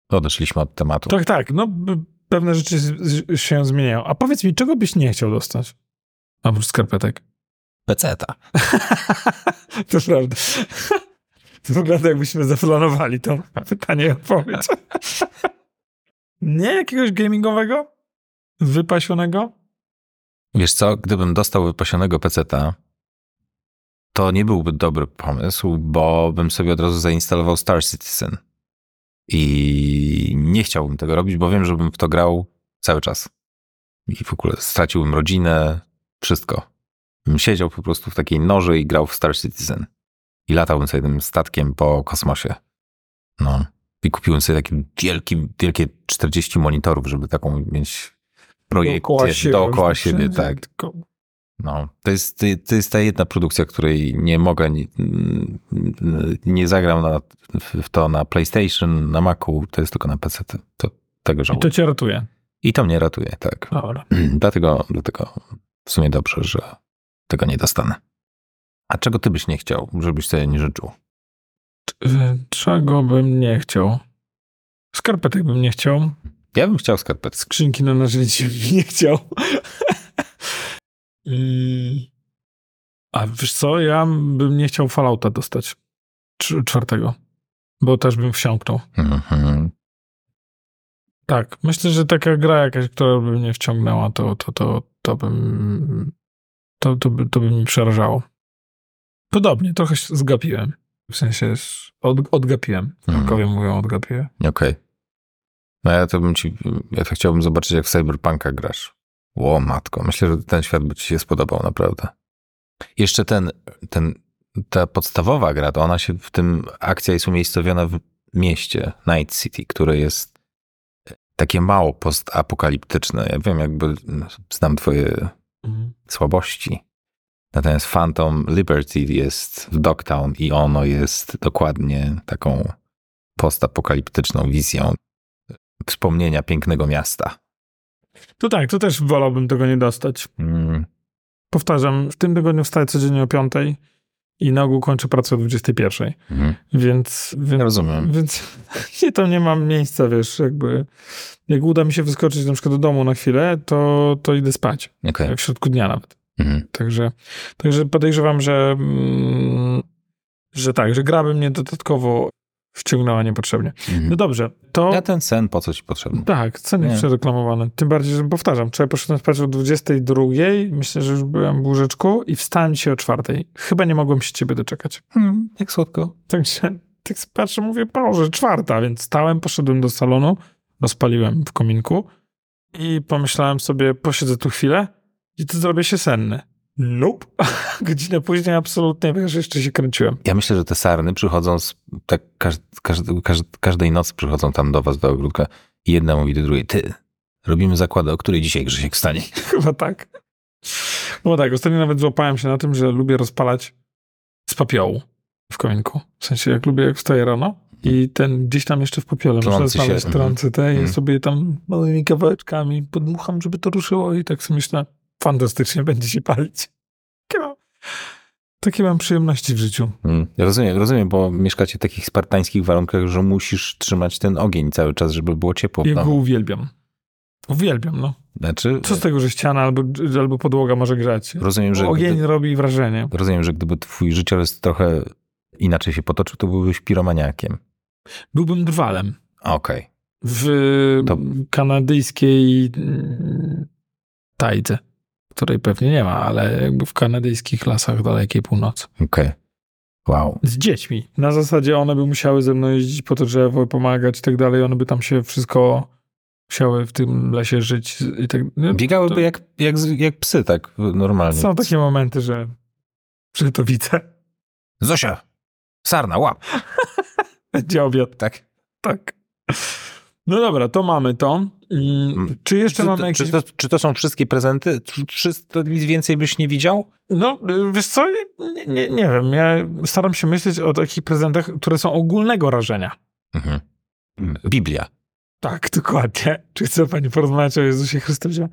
Speaker 1: Odeszliśmy od tematu.
Speaker 2: Tak, tak. No b- pewne rzeczy z- z- się zmieniają. A powiedz mi, czego byś nie chciał dostać? Oprócz skarpetek.
Speaker 1: Peceta.
Speaker 2: to prawda. to wygląda jakbyśmy zaplanowali to pytanie i odpowiedź. nie jakiegoś gamingowego? Wypasionego?
Speaker 1: Wiesz co, gdybym dostał wypasionego peceta, to nie byłby dobry pomysł, bo bym sobie od razu zainstalował Star Citizen. I nie chciałbym tego robić, bo wiem, że bym w to grał cały czas. I w ogóle straciłbym rodzinę, wszystko. Bym siedział po prostu w takiej noży i grał w Star Citizen. I latałbym sobie tym statkiem po kosmosie. No. I kupiłem sobie takie wielki, wielkie 40 monitorów, żeby taką mieć projekcję dookoła siebie, dookoła siebie tak.
Speaker 2: Tylko
Speaker 1: No, to jest, to jest ta jedna produkcja, której nie mogę, nie, nie zagram na, w to na PlayStation, na Macu, to jest tylko na PC. To, tego
Speaker 2: I
Speaker 1: żałuję.
Speaker 2: to cię ratuje.
Speaker 1: I to mnie ratuje, tak.
Speaker 2: Dobra.
Speaker 1: dlatego, dlatego w sumie dobrze, że tego nie dostanę. A czego ty byś nie chciał, żebyś sobie nie życzył?
Speaker 2: E, Czego bym nie chciał? Skarpetek bym nie chciał.
Speaker 1: Ja bym chciał skarpetki.
Speaker 2: Skrzynki na narzędzie bym nie chciał. I- A wiesz co? Ja bym nie chciał Fallouta dostać. Cz- Czwartego. Bo też bym wsiąknął.
Speaker 1: Mhm.
Speaker 2: Tak. Myślę, że taka gra jakaś, która by mnie wciągnęła, to, to, to, to bym... To, to, by, to by mi przerażało. Podobnie. Trochę się zgapiłem. W sensie s- od, odgapiłem.
Speaker 1: Mhm.
Speaker 2: Frankowie mówią odgapiłem.
Speaker 1: Okej. No ja to bym ci, ja to chciałbym zobaczyć, jak w Cyberpunka grasz. Ło, matko, myślę, że ten świat by ci się spodobał naprawdę. Jeszcze ten, ten, ta podstawowa gra, to ona się w tym, akcja jest umiejscowiona w mieście, Night City, które jest e, takie mało postapokaliptyczne. Ja wiem, jakby no, znam twoje słabości. Natomiast Phantom Liberty jest w Dogtown i ono jest dokładnie taką postapokaliptyczną wizją wspomnienia pięknego miasta.
Speaker 2: To tak, to też wolałbym tego nie dostać.
Speaker 1: Mm,
Speaker 2: Powtarzam, w tym tygodniu wstaję codziennie o 5 i na ogół kończę pracę o 21.
Speaker 1: mhm.
Speaker 2: Więc, więc
Speaker 1: Rozumiem.
Speaker 2: Więc nie, tam nie mam miejsca, wiesz, jakby. Jak uda mi się wyskoczyć na przykład do domu na chwilę, to, to idę spać.
Speaker 1: Okej.
Speaker 2: W środku dnia nawet.
Speaker 1: Mhm.
Speaker 2: Także, także podejrzewam, że, mm, że tak, że gra by mnie dodatkowo wciągnęła niepotrzebnie. No
Speaker 1: Mhm.
Speaker 2: dobrze, to...
Speaker 1: Ja ten sen po co ci potrzebny?
Speaker 2: Tak, ceny
Speaker 1: Nie.
Speaker 2: przereklamowane. Tym bardziej, że powtarzam, wczoraj poszedłem spać o 22, myślę, że już byłem w łóżeczku i wstałem się o czwartej. Chyba nie mogłem się ciebie doczekać.
Speaker 1: Hmm, jak słodko.
Speaker 2: Także tak sobie patrzę, mówię, Boże, czwarta, więc stałem, poszedłem do salonu, rozpaliłem w kominku i pomyślałem sobie, posiedzę tu chwilę i to zrobię się senny. Nope. Godzinę później absolutnie, wiesz, jeszcze się kręciłem.
Speaker 1: Ja myślę, że te sarny przychodzą, z, tak każ, każ, każ, każdej nocy przychodzą tam do was, do ogródka i jedna mówi do drugiej, ty, robimy zakłady, o której dzisiaj Grzesiek wstanie.
Speaker 2: Chyba tak. No tak, ostatnio nawet złapałem się na tym, że lubię rozpalać z papiołu w kominku. W sensie, jak lubię, jak wstaję rano i ten gdzieś tam jeszcze w popiole muszę
Speaker 1: Trący się,
Speaker 2: znaleźć
Speaker 1: mhm.
Speaker 2: trący te i
Speaker 1: Mhm.
Speaker 2: sobie tam małymi kawałeczkami podmucham, żeby to ruszyło i tak sobie myślę, fantastycznie będzie się palić. Takie mam, takie mam przyjemności w życiu.
Speaker 1: Mm, ja Rozumiem, rozumiem, bo mieszkacie w takich spartańskich warunkach, że musisz trzymać ten ogień cały czas, żeby było ciepło.
Speaker 2: Ja go
Speaker 1: No.
Speaker 2: uwielbiam. Uwielbiam, no.
Speaker 1: Znaczy,
Speaker 2: Co z tego, że ściana albo, albo podłoga może grzać?
Speaker 1: rozumiem, że
Speaker 2: Ogień
Speaker 1: gdy,
Speaker 2: robi wrażenie.
Speaker 1: rozumiem, że gdyby twój życiorys trochę inaczej się potoczył, to byłbyś piromaniakiem.
Speaker 2: Byłbym drwalem.
Speaker 1: Okej.
Speaker 2: w
Speaker 1: To-
Speaker 2: kanadyjskiej mm, tajdze, której pewnie nie ma, ale jakby w kanadyjskich lasach dalekiej północy.
Speaker 1: Okej. Wow.
Speaker 2: Z dziećmi. Na zasadzie one by musiały ze mną jeździć po to drzewo, pomagać i tak dalej. One by tam się wszystko musiały w tym lesie żyć i tak no,
Speaker 1: Biegałyby
Speaker 2: to-
Speaker 1: jak, jak, z- jak psy, tak normalnie.
Speaker 2: Są takie momenty, że, że to widzę.
Speaker 1: Zosia! Sarna, łap!
Speaker 2: Będzie obiad.
Speaker 1: Tak.
Speaker 2: Tak. No dobra, to mamy to. Mm, Czy jeszcze
Speaker 1: Czy to,
Speaker 2: mamy jakieś...
Speaker 1: czy, to, czy to są wszystkie prezenty? Czy, czy to nic więcej byś nie widział?
Speaker 2: No, y, wiesz co, nie, nie, nie wiem. Ja staram się myśleć o takich prezentach, które są ogólnego rażenia.
Speaker 1: Mhm. Biblia.
Speaker 2: Tak, dokładnie. Czy chce pani porozmawiać o Jezusie Chrystusie?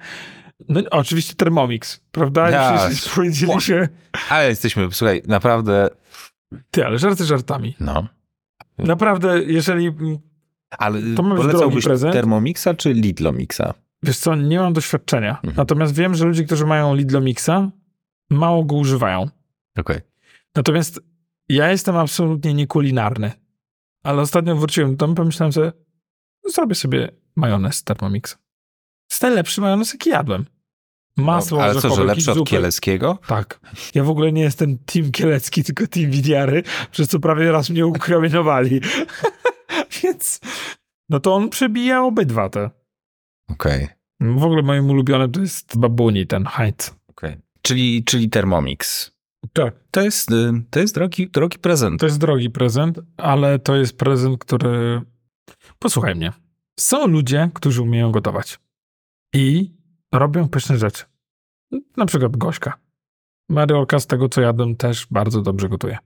Speaker 2: No oczywiście Thermomix, prawda?
Speaker 1: Ja-
Speaker 2: Ja, Już powiedzieliśmy...
Speaker 1: Ale jesteśmy, słuchaj, naprawdę...
Speaker 2: Ty, ale żarty żartami.
Speaker 1: No.
Speaker 2: Naprawdę, jeżeli...
Speaker 1: Ale y,
Speaker 2: To ma być drogi
Speaker 1: polecałbyś
Speaker 2: prezent?
Speaker 1: Thermomixa czy Lidlomixa?
Speaker 2: Wiesz co, nie mam doświadczenia.
Speaker 1: Mhm.
Speaker 2: Natomiast wiem, że ludzie, którzy mają Lidlomixa, mało go używają.
Speaker 1: Okej.
Speaker 2: Natomiast ja jestem absolutnie niekulinarny. Ale ostatnio wróciłem do domu i pomyślałem, że zrobię sobie majonez z Thermomixa. Jest najlepszy majonez, jaki jadłem. Masło
Speaker 1: No, Ale co, że
Speaker 2: orzechowe, jakieś
Speaker 1: lepsze od
Speaker 2: zupy.
Speaker 1: kieleckiego?
Speaker 2: Tak. Ja w ogóle nie jestem team kielecki, tylko team winiary, przez co prawie raz mnie ukromienowali. Więc no to on przebija obydwa te.
Speaker 1: Okej.
Speaker 2: W ogóle moim ulubionym to jest babuni, ten hajt.
Speaker 1: okej. Czyli, czyli Thermomix.
Speaker 2: Tak.
Speaker 1: To jest, y, to jest drogi, drogi prezent.
Speaker 2: To jest drogi prezent, ale to jest prezent, który. Posłuchaj mnie. Są ludzie, którzy umieją gotować i robią pyszne rzeczy. Na przykład Gośka. Mariolka, z tego co jadłem, też bardzo dobrze gotuje.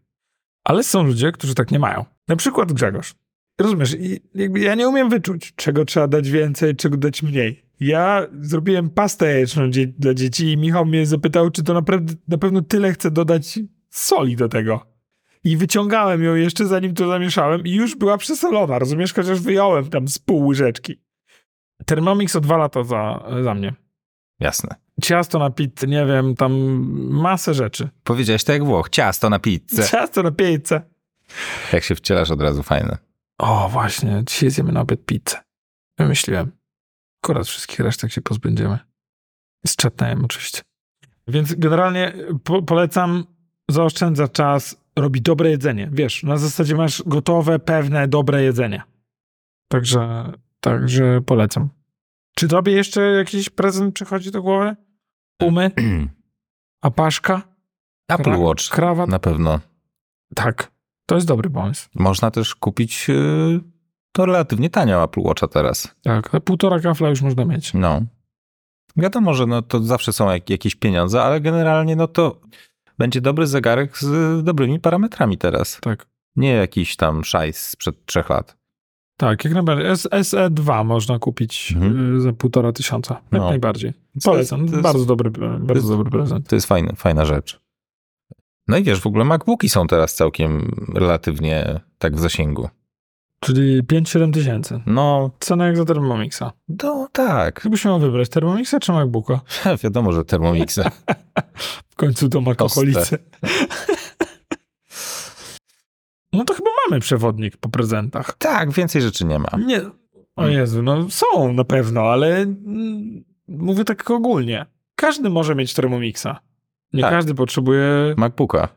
Speaker 2: Ale są ludzie, którzy tak nie mają. Na przykład Grzegorz. Rozumiesz, i jakby ja nie umiem wyczuć, czego trzeba dać więcej, czego dać mniej. Ja zrobiłem pastę jajeczną dzie- dla dzieci i Michał mnie zapytał, czy to naprawdę, na pewno tyle chcę dodać soli do tego. I wyciągałem ją jeszcze zanim to zamieszałem i już była przesolona, rozumiesz? Chociaż wyjąłem tam z pół łyżeczki. Thermomix o dwa lata za, za mnie.
Speaker 1: Jasne.
Speaker 2: Ciasto na pizzę, nie wiem, tam masę rzeczy.
Speaker 1: Powiedziałeś tak jak Włoch. Ciasto na pizzę.
Speaker 2: Ciasto na pizzę.
Speaker 1: Jak się wcielasz od razu, fajne.
Speaker 2: O, właśnie, dzisiaj zjemy na obiad pizzę. Wymyśliłem. Akurat wszystkich resztek się pozbędziemy. Z czetnajem oczywiście. Więc generalnie po polecam, zaoszczędza czas, robi dobre jedzenie. Wiesz, na zasadzie masz gotowe, pewne, dobre jedzenie. Także, także polecam. Czy tobie jeszcze jakiś prezent przychodzi do głowy? Umy? Apaszka?
Speaker 1: Apple
Speaker 2: Kra-
Speaker 1: Watch.
Speaker 2: Krawat?
Speaker 1: Na pewno.
Speaker 2: Tak. To jest dobry pomysł.
Speaker 1: Można też kupić yy, to relatywnie tanio Apple Watcha teraz.
Speaker 2: Tak, a półtora kafla już można mieć.
Speaker 1: No. Wiadomo, że no to zawsze są jak, jakieś pieniądze, ale generalnie no to będzie dobry zegarek z dobrymi parametrami teraz.
Speaker 2: Tak.
Speaker 1: Nie jakiś tam szajs sprzed trzech lat.
Speaker 2: Tak, jak najbardziej. S- SE2 można kupić
Speaker 1: Mhm.
Speaker 2: y, za półtora tysiąca. Jak
Speaker 1: No.
Speaker 2: najbardziej.
Speaker 1: Więc
Speaker 2: Polecam.
Speaker 1: to jest-
Speaker 2: bardzo dobry, e, bardzo
Speaker 1: jest-
Speaker 2: dobry prezent.
Speaker 1: To jest fajna, fajna rzecz. No i wiesz, w ogóle MacBooki są teraz całkiem relatywnie tak w zasięgu.
Speaker 2: Czyli 5-7 tysięcy.
Speaker 1: No,
Speaker 2: Cena jak za Thermomixa.
Speaker 1: no tak.
Speaker 2: Gdybyś miał wybrać Thermomixa czy MacBooka?
Speaker 1: Wiadomo, że Thermomixa.
Speaker 2: W końcu do alkoholicy. no to chyba mamy przewodnik po prezentach.
Speaker 1: Tak, więcej rzeczy nie ma.
Speaker 2: Nie. O
Speaker 1: Hmm.
Speaker 2: Jezu, no są na pewno, ale mm, mówię tak ogólnie. Każdy może mieć Thermomixa. Nie
Speaker 1: Tak.
Speaker 2: każdy potrzebuje
Speaker 1: MacBooka.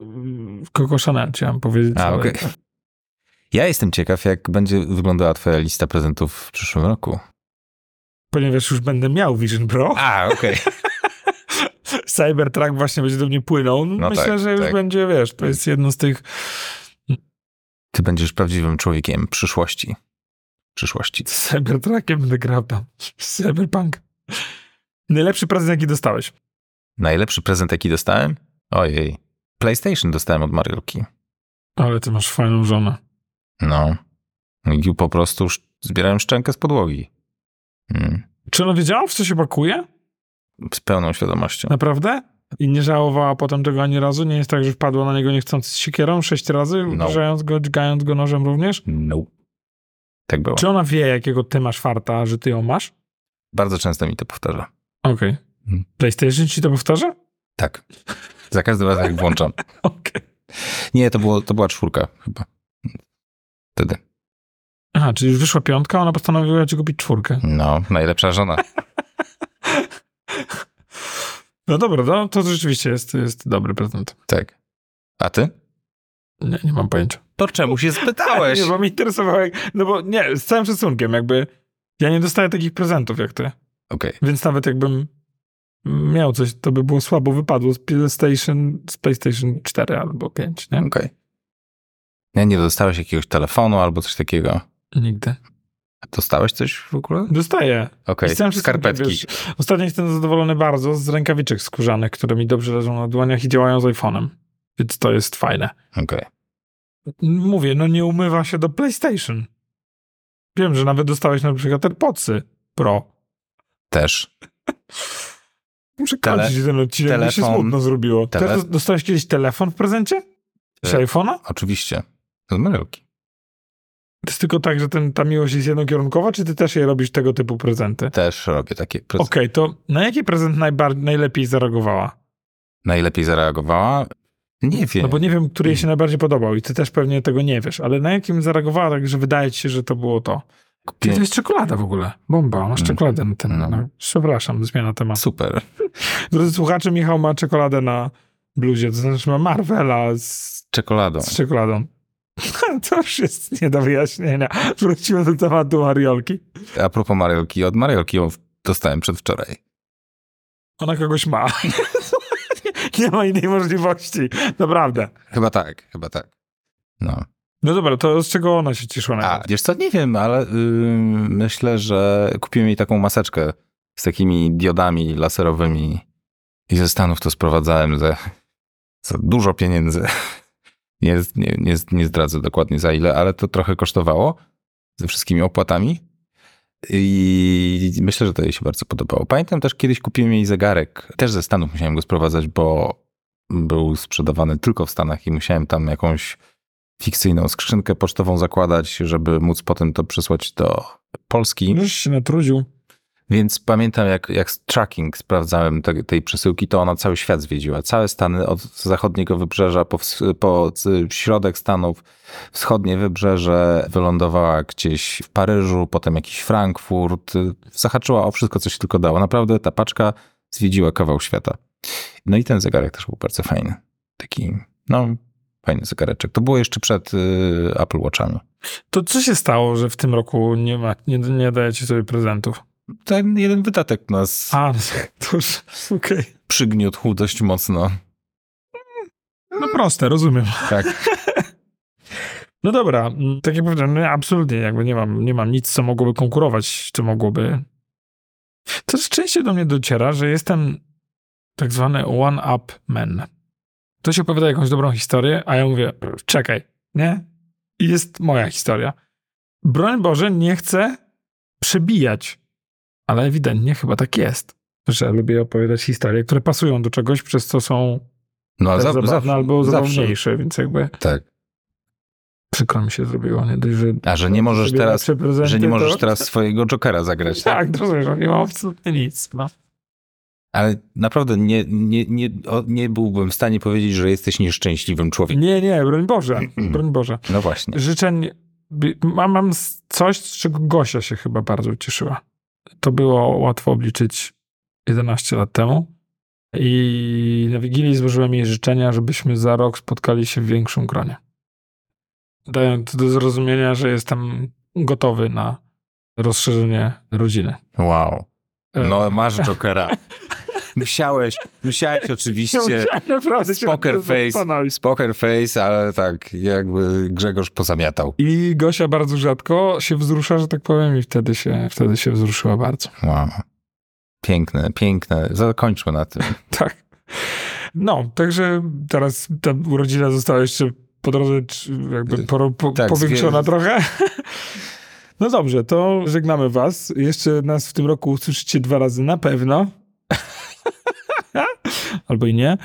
Speaker 2: mm, Coco Chanel, chciałem powiedzieć.
Speaker 1: A,
Speaker 2: ale-
Speaker 1: okej. Ja jestem ciekaw, jak będzie wyglądała twoja lista prezentów w przyszłym roku.
Speaker 2: Ponieważ już będę miał Vision Pro,
Speaker 1: A, okej.
Speaker 2: Cybertruck właśnie będzie do mnie płynął.
Speaker 1: No
Speaker 2: Myślę,
Speaker 1: tak,
Speaker 2: że już
Speaker 1: tak.
Speaker 2: będzie, wiesz, to jest jedno z tych...
Speaker 1: Ty będziesz prawdziwym człowiekiem przyszłości. Przyszłości.
Speaker 2: Z Cybertruckiem będę grał tam. Cyberpunk. Najlepszy prezent, jaki dostałeś.
Speaker 1: Najlepszy prezent, jaki dostałem? Ojej. PlayStation dostałem od Mariolki.
Speaker 2: Ale ty masz fajną żonę.
Speaker 1: No. I po prostu sz- zbierałem szczękę z podłogi. Mm.
Speaker 2: Czy ona wiedziała, w co się pakuje?
Speaker 1: Z pełną świadomością.
Speaker 2: Naprawdę? I nie żałowała potem tego ani razu? Nie jest tak, że wpadła na niego niechcący z siekierą sześć razy,
Speaker 1: No.
Speaker 2: uderzając go, dźgając go nożem również?
Speaker 1: No. Tak było.
Speaker 2: Czy ona wie, jakiego ty masz farta, że ty ją masz?
Speaker 1: Bardzo często mi to powtarza.
Speaker 2: Okej.
Speaker 1: Mhm.
Speaker 2: PlayStation ci to powtarza?
Speaker 1: Tak. Za każdym razem, jak włączam.
Speaker 2: Okej.
Speaker 1: Nie, to, było, to była czwórka chyba. Wtedy.
Speaker 2: Aha, czyli już wyszła piątka, ona postanowiła ci kupić czwórkę.
Speaker 1: No, najlepsza żona.
Speaker 2: No dobra, no, to rzeczywiście jest, jest dobry prezent.
Speaker 1: Tak. A ty?
Speaker 2: Nie, nie mam pojęcia.
Speaker 1: To czemu się spytałeś?
Speaker 2: Nie, bo mnie interesowało, jak, no bo nie, z całym szacunkiem, jakby ja nie dostaję takich prezentów jak ty,
Speaker 1: Okej.
Speaker 2: więc nawet jakbym miał coś, to by było słabo wypadło z PlayStation, z PlayStation 4 albo 5, nie?
Speaker 1: Okej. Nie, nie dostałeś jakiegoś telefonu albo coś takiego.
Speaker 2: Nigdy.
Speaker 1: A Dostałeś coś w ogóle?
Speaker 2: Dostaję.
Speaker 1: Okej,
Speaker 2: Z całym szacunkiem,
Speaker 1: skarpetki.
Speaker 2: wiesz, ostatnio jestem zadowolony bardzo z rękawiczek skórzanych, które mi dobrze leżą na dłoniach i działają z iPhone'em, więc to jest fajne.
Speaker 1: Okej.
Speaker 2: Mówię, no nie umywa się do PlayStation. Wiem, że nawet dostałeś na przykład AirPodsy Pro.
Speaker 1: Też.
Speaker 2: Muszę
Speaker 1: Tele-
Speaker 2: kończyć ten odcinek, telefon, mi się
Speaker 1: telefon-
Speaker 2: smutno zrobiło.
Speaker 1: tele-
Speaker 2: Też dostałeś kiedyś telefon w prezencie? Z
Speaker 1: E.
Speaker 2: iPhone'a?
Speaker 1: Oczywiście. Z myrełki.
Speaker 2: To jest tylko tak, że ten, ta miłość jest jednokierunkowa, czy ty też je robisz tego typu prezenty?
Speaker 1: Też robię takie. Prez...
Speaker 2: Okej, to na jaki prezent najbar- najlepiej zareagowała?
Speaker 1: Najlepiej zareagowała? Nie wiem.
Speaker 2: No bo nie wiem, który jej się najbardziej podobał i ty też pewnie tego nie wiesz, ale na jakim zareagowała tak, że wydaje ci się, że to było to? Czyli
Speaker 1: Kupię...
Speaker 2: to jest czekolada w ogóle. Bomba, masz
Speaker 1: Mm.
Speaker 2: czekoladę na ten.
Speaker 1: No.
Speaker 2: No. Przepraszam, zmiana tematu.
Speaker 1: Super.
Speaker 2: Drodzy słuchacze, Michał ma czekoladę na bluzie, to znaczy ma Marvela z,
Speaker 1: Czekoladą.
Speaker 2: z czekoladą. To już jest nie do wyjaśnienia. Wrócimy do tematu Mariolki.
Speaker 1: A propos Mariolki, od Mariolki ją w- dostałem przedwczoraj.
Speaker 2: Ona kogoś ma. Nie ma innej możliwości. Naprawdę.
Speaker 1: Chyba tak, chyba tak. No.
Speaker 2: No dobra, to z czego ona się cieszyła?
Speaker 1: A,
Speaker 2: najbardziej?
Speaker 1: wiesz co, nie wiem, ale yy, myślę, że kupiłem jej taką maseczkę z takimi diodami laserowymi i ze Stanów to sprowadzałem za, za dużo pieniędzy. Nie, nie, nie, nie zdradzę dokładnie za ile, ale to trochę kosztowało ze wszystkimi opłatami i myślę, że to jej się bardzo podobało. Pamiętam też kiedyś kupiłem jej zegarek, też ze Stanów musiałem go sprowadzać, bo był sprzedawany tylko w Stanach i musiałem tam jakąś fikcyjną skrzynkę pocztową zakładać, żeby móc potem to przysłać do Polski.
Speaker 2: Już się natrudził.
Speaker 1: Więc pamiętam, jak, jak z tracking sprawdzałem te, tej przesyłki, to ona cały świat zwiedziła. Całe Stany od zachodniego wybrzeża po, ws- po c- środek Stanów, wschodnie wybrzeże, wylądowała gdzieś w Paryżu, potem jakiś Frankfurt. y, Zahaczyła o wszystko, co się tylko dało. Naprawdę ta paczka zwiedziła kawał świata. No i ten zegarek też był bardzo fajny. Taki, no, fajny zegareczek. To było jeszcze przed y, Apple Watchami.
Speaker 2: To co się stało, że w tym roku nie, ma, nie, nie dajecie sobie prezentów?
Speaker 1: Ten jeden wydatek nas
Speaker 2: A, no, to już, okej.
Speaker 1: przygniótł dość mocno.
Speaker 2: No proste, rozumiem.
Speaker 1: Tak.
Speaker 2: No dobra, m, tak jak powiedziałem, no ja absolutnie jakby nie mam, nie mam nic, co mogłoby konkurować, co mogłoby. Coraz częściej do mnie dociera, że jestem tak zwany one-up man. Ktoś opowiada jakąś dobrą historię, a ja mówię, czekaj, nie? I jest moja historia. Broń Boże, nie chcę przebijać, ale ewidentnie chyba tak jest, że lubię opowiadać historie, które pasują do czegoś, przez co są
Speaker 1: No, a
Speaker 2: też
Speaker 1: za,
Speaker 2: zabawne
Speaker 1: zawsze,
Speaker 2: Tak albo
Speaker 1: zawsze.
Speaker 2: zabawniejsze, więc jakby
Speaker 1: Tak.
Speaker 2: przykro mi się zrobiło, nie dość, że
Speaker 1: A że nie możesz
Speaker 2: Zrobię
Speaker 1: teraz,
Speaker 2: lepsze prezenty,
Speaker 1: że nie możesz
Speaker 2: to...
Speaker 1: teraz swojego Jokera zagrać. Tak?
Speaker 2: Tak, rozumiem, że nie mam absolutnie nic. No.
Speaker 1: Ale naprawdę nie, nie, nie, o, nie byłbym w stanie powiedzieć, że jesteś nieszczęśliwym człowiekiem.
Speaker 2: Nie, nie, broń Boże, broń Boże.
Speaker 1: No właśnie.
Speaker 2: Życzeń, bi- mam, mam s- coś, z czego Gosia się chyba bardzo ucieszyła. To było łatwo obliczyć 11 lat temu. I na Wigilii złożyłem jej życzenia, żebyśmy za rok spotkali się w większym gronie. Dając do zrozumienia, że jestem gotowy na rozszerzenie rodziny.
Speaker 1: Wow.
Speaker 2: E,
Speaker 1: No masz Jokera. Musiałeś, musiałeś oczywiście
Speaker 2: musiałem naprawdę się tak
Speaker 1: poker
Speaker 2: nad tym
Speaker 1: face.
Speaker 2: zastanowić.
Speaker 1: z poker face, ale tak jakby Grzegorz pozamiatał.
Speaker 2: I Gosia bardzo rzadko się wzrusza, że tak powiem, i wtedy się, wtedy się wzruszyła bardzo.
Speaker 1: Wow. Piękne, piękne. Zakończmy na tym.
Speaker 2: Tak. No, także teraz ta urodzina została jeszcze po drodze czy jakby poro, po,
Speaker 1: Tak,
Speaker 2: powiększona
Speaker 1: zwie-
Speaker 2: trochę. No dobrze, to żegnamy was. Jeszcze nas w tym roku usłyszycie dwa razy na pewno. Albo i nie.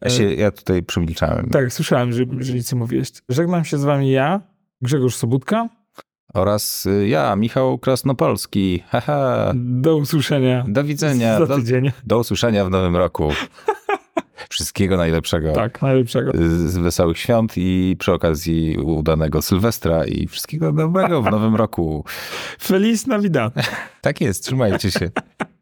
Speaker 1: Ja, się, ja tutaj przymilczałem.
Speaker 2: Tak, słyszałem, że, że nic nie mówiłeś. Żegnam się z wami ja, Grzegorz Sobudka.
Speaker 1: Oraz y, ja, Michał Krasnopolski. Haha.
Speaker 2: Do usłyszenia
Speaker 1: Do widzenia.
Speaker 2: za
Speaker 1: Do,
Speaker 2: tydzień.
Speaker 1: do usłyszenia w nowym roku. Wszystkiego najlepszego.
Speaker 2: Tak, najlepszego.
Speaker 1: z z wesołych świąt i przy okazji udanego Sylwestra i wszystkiego dobrego w nowym roku.
Speaker 2: Feliz Navidad.
Speaker 1: Tak jest, trzymajcie się.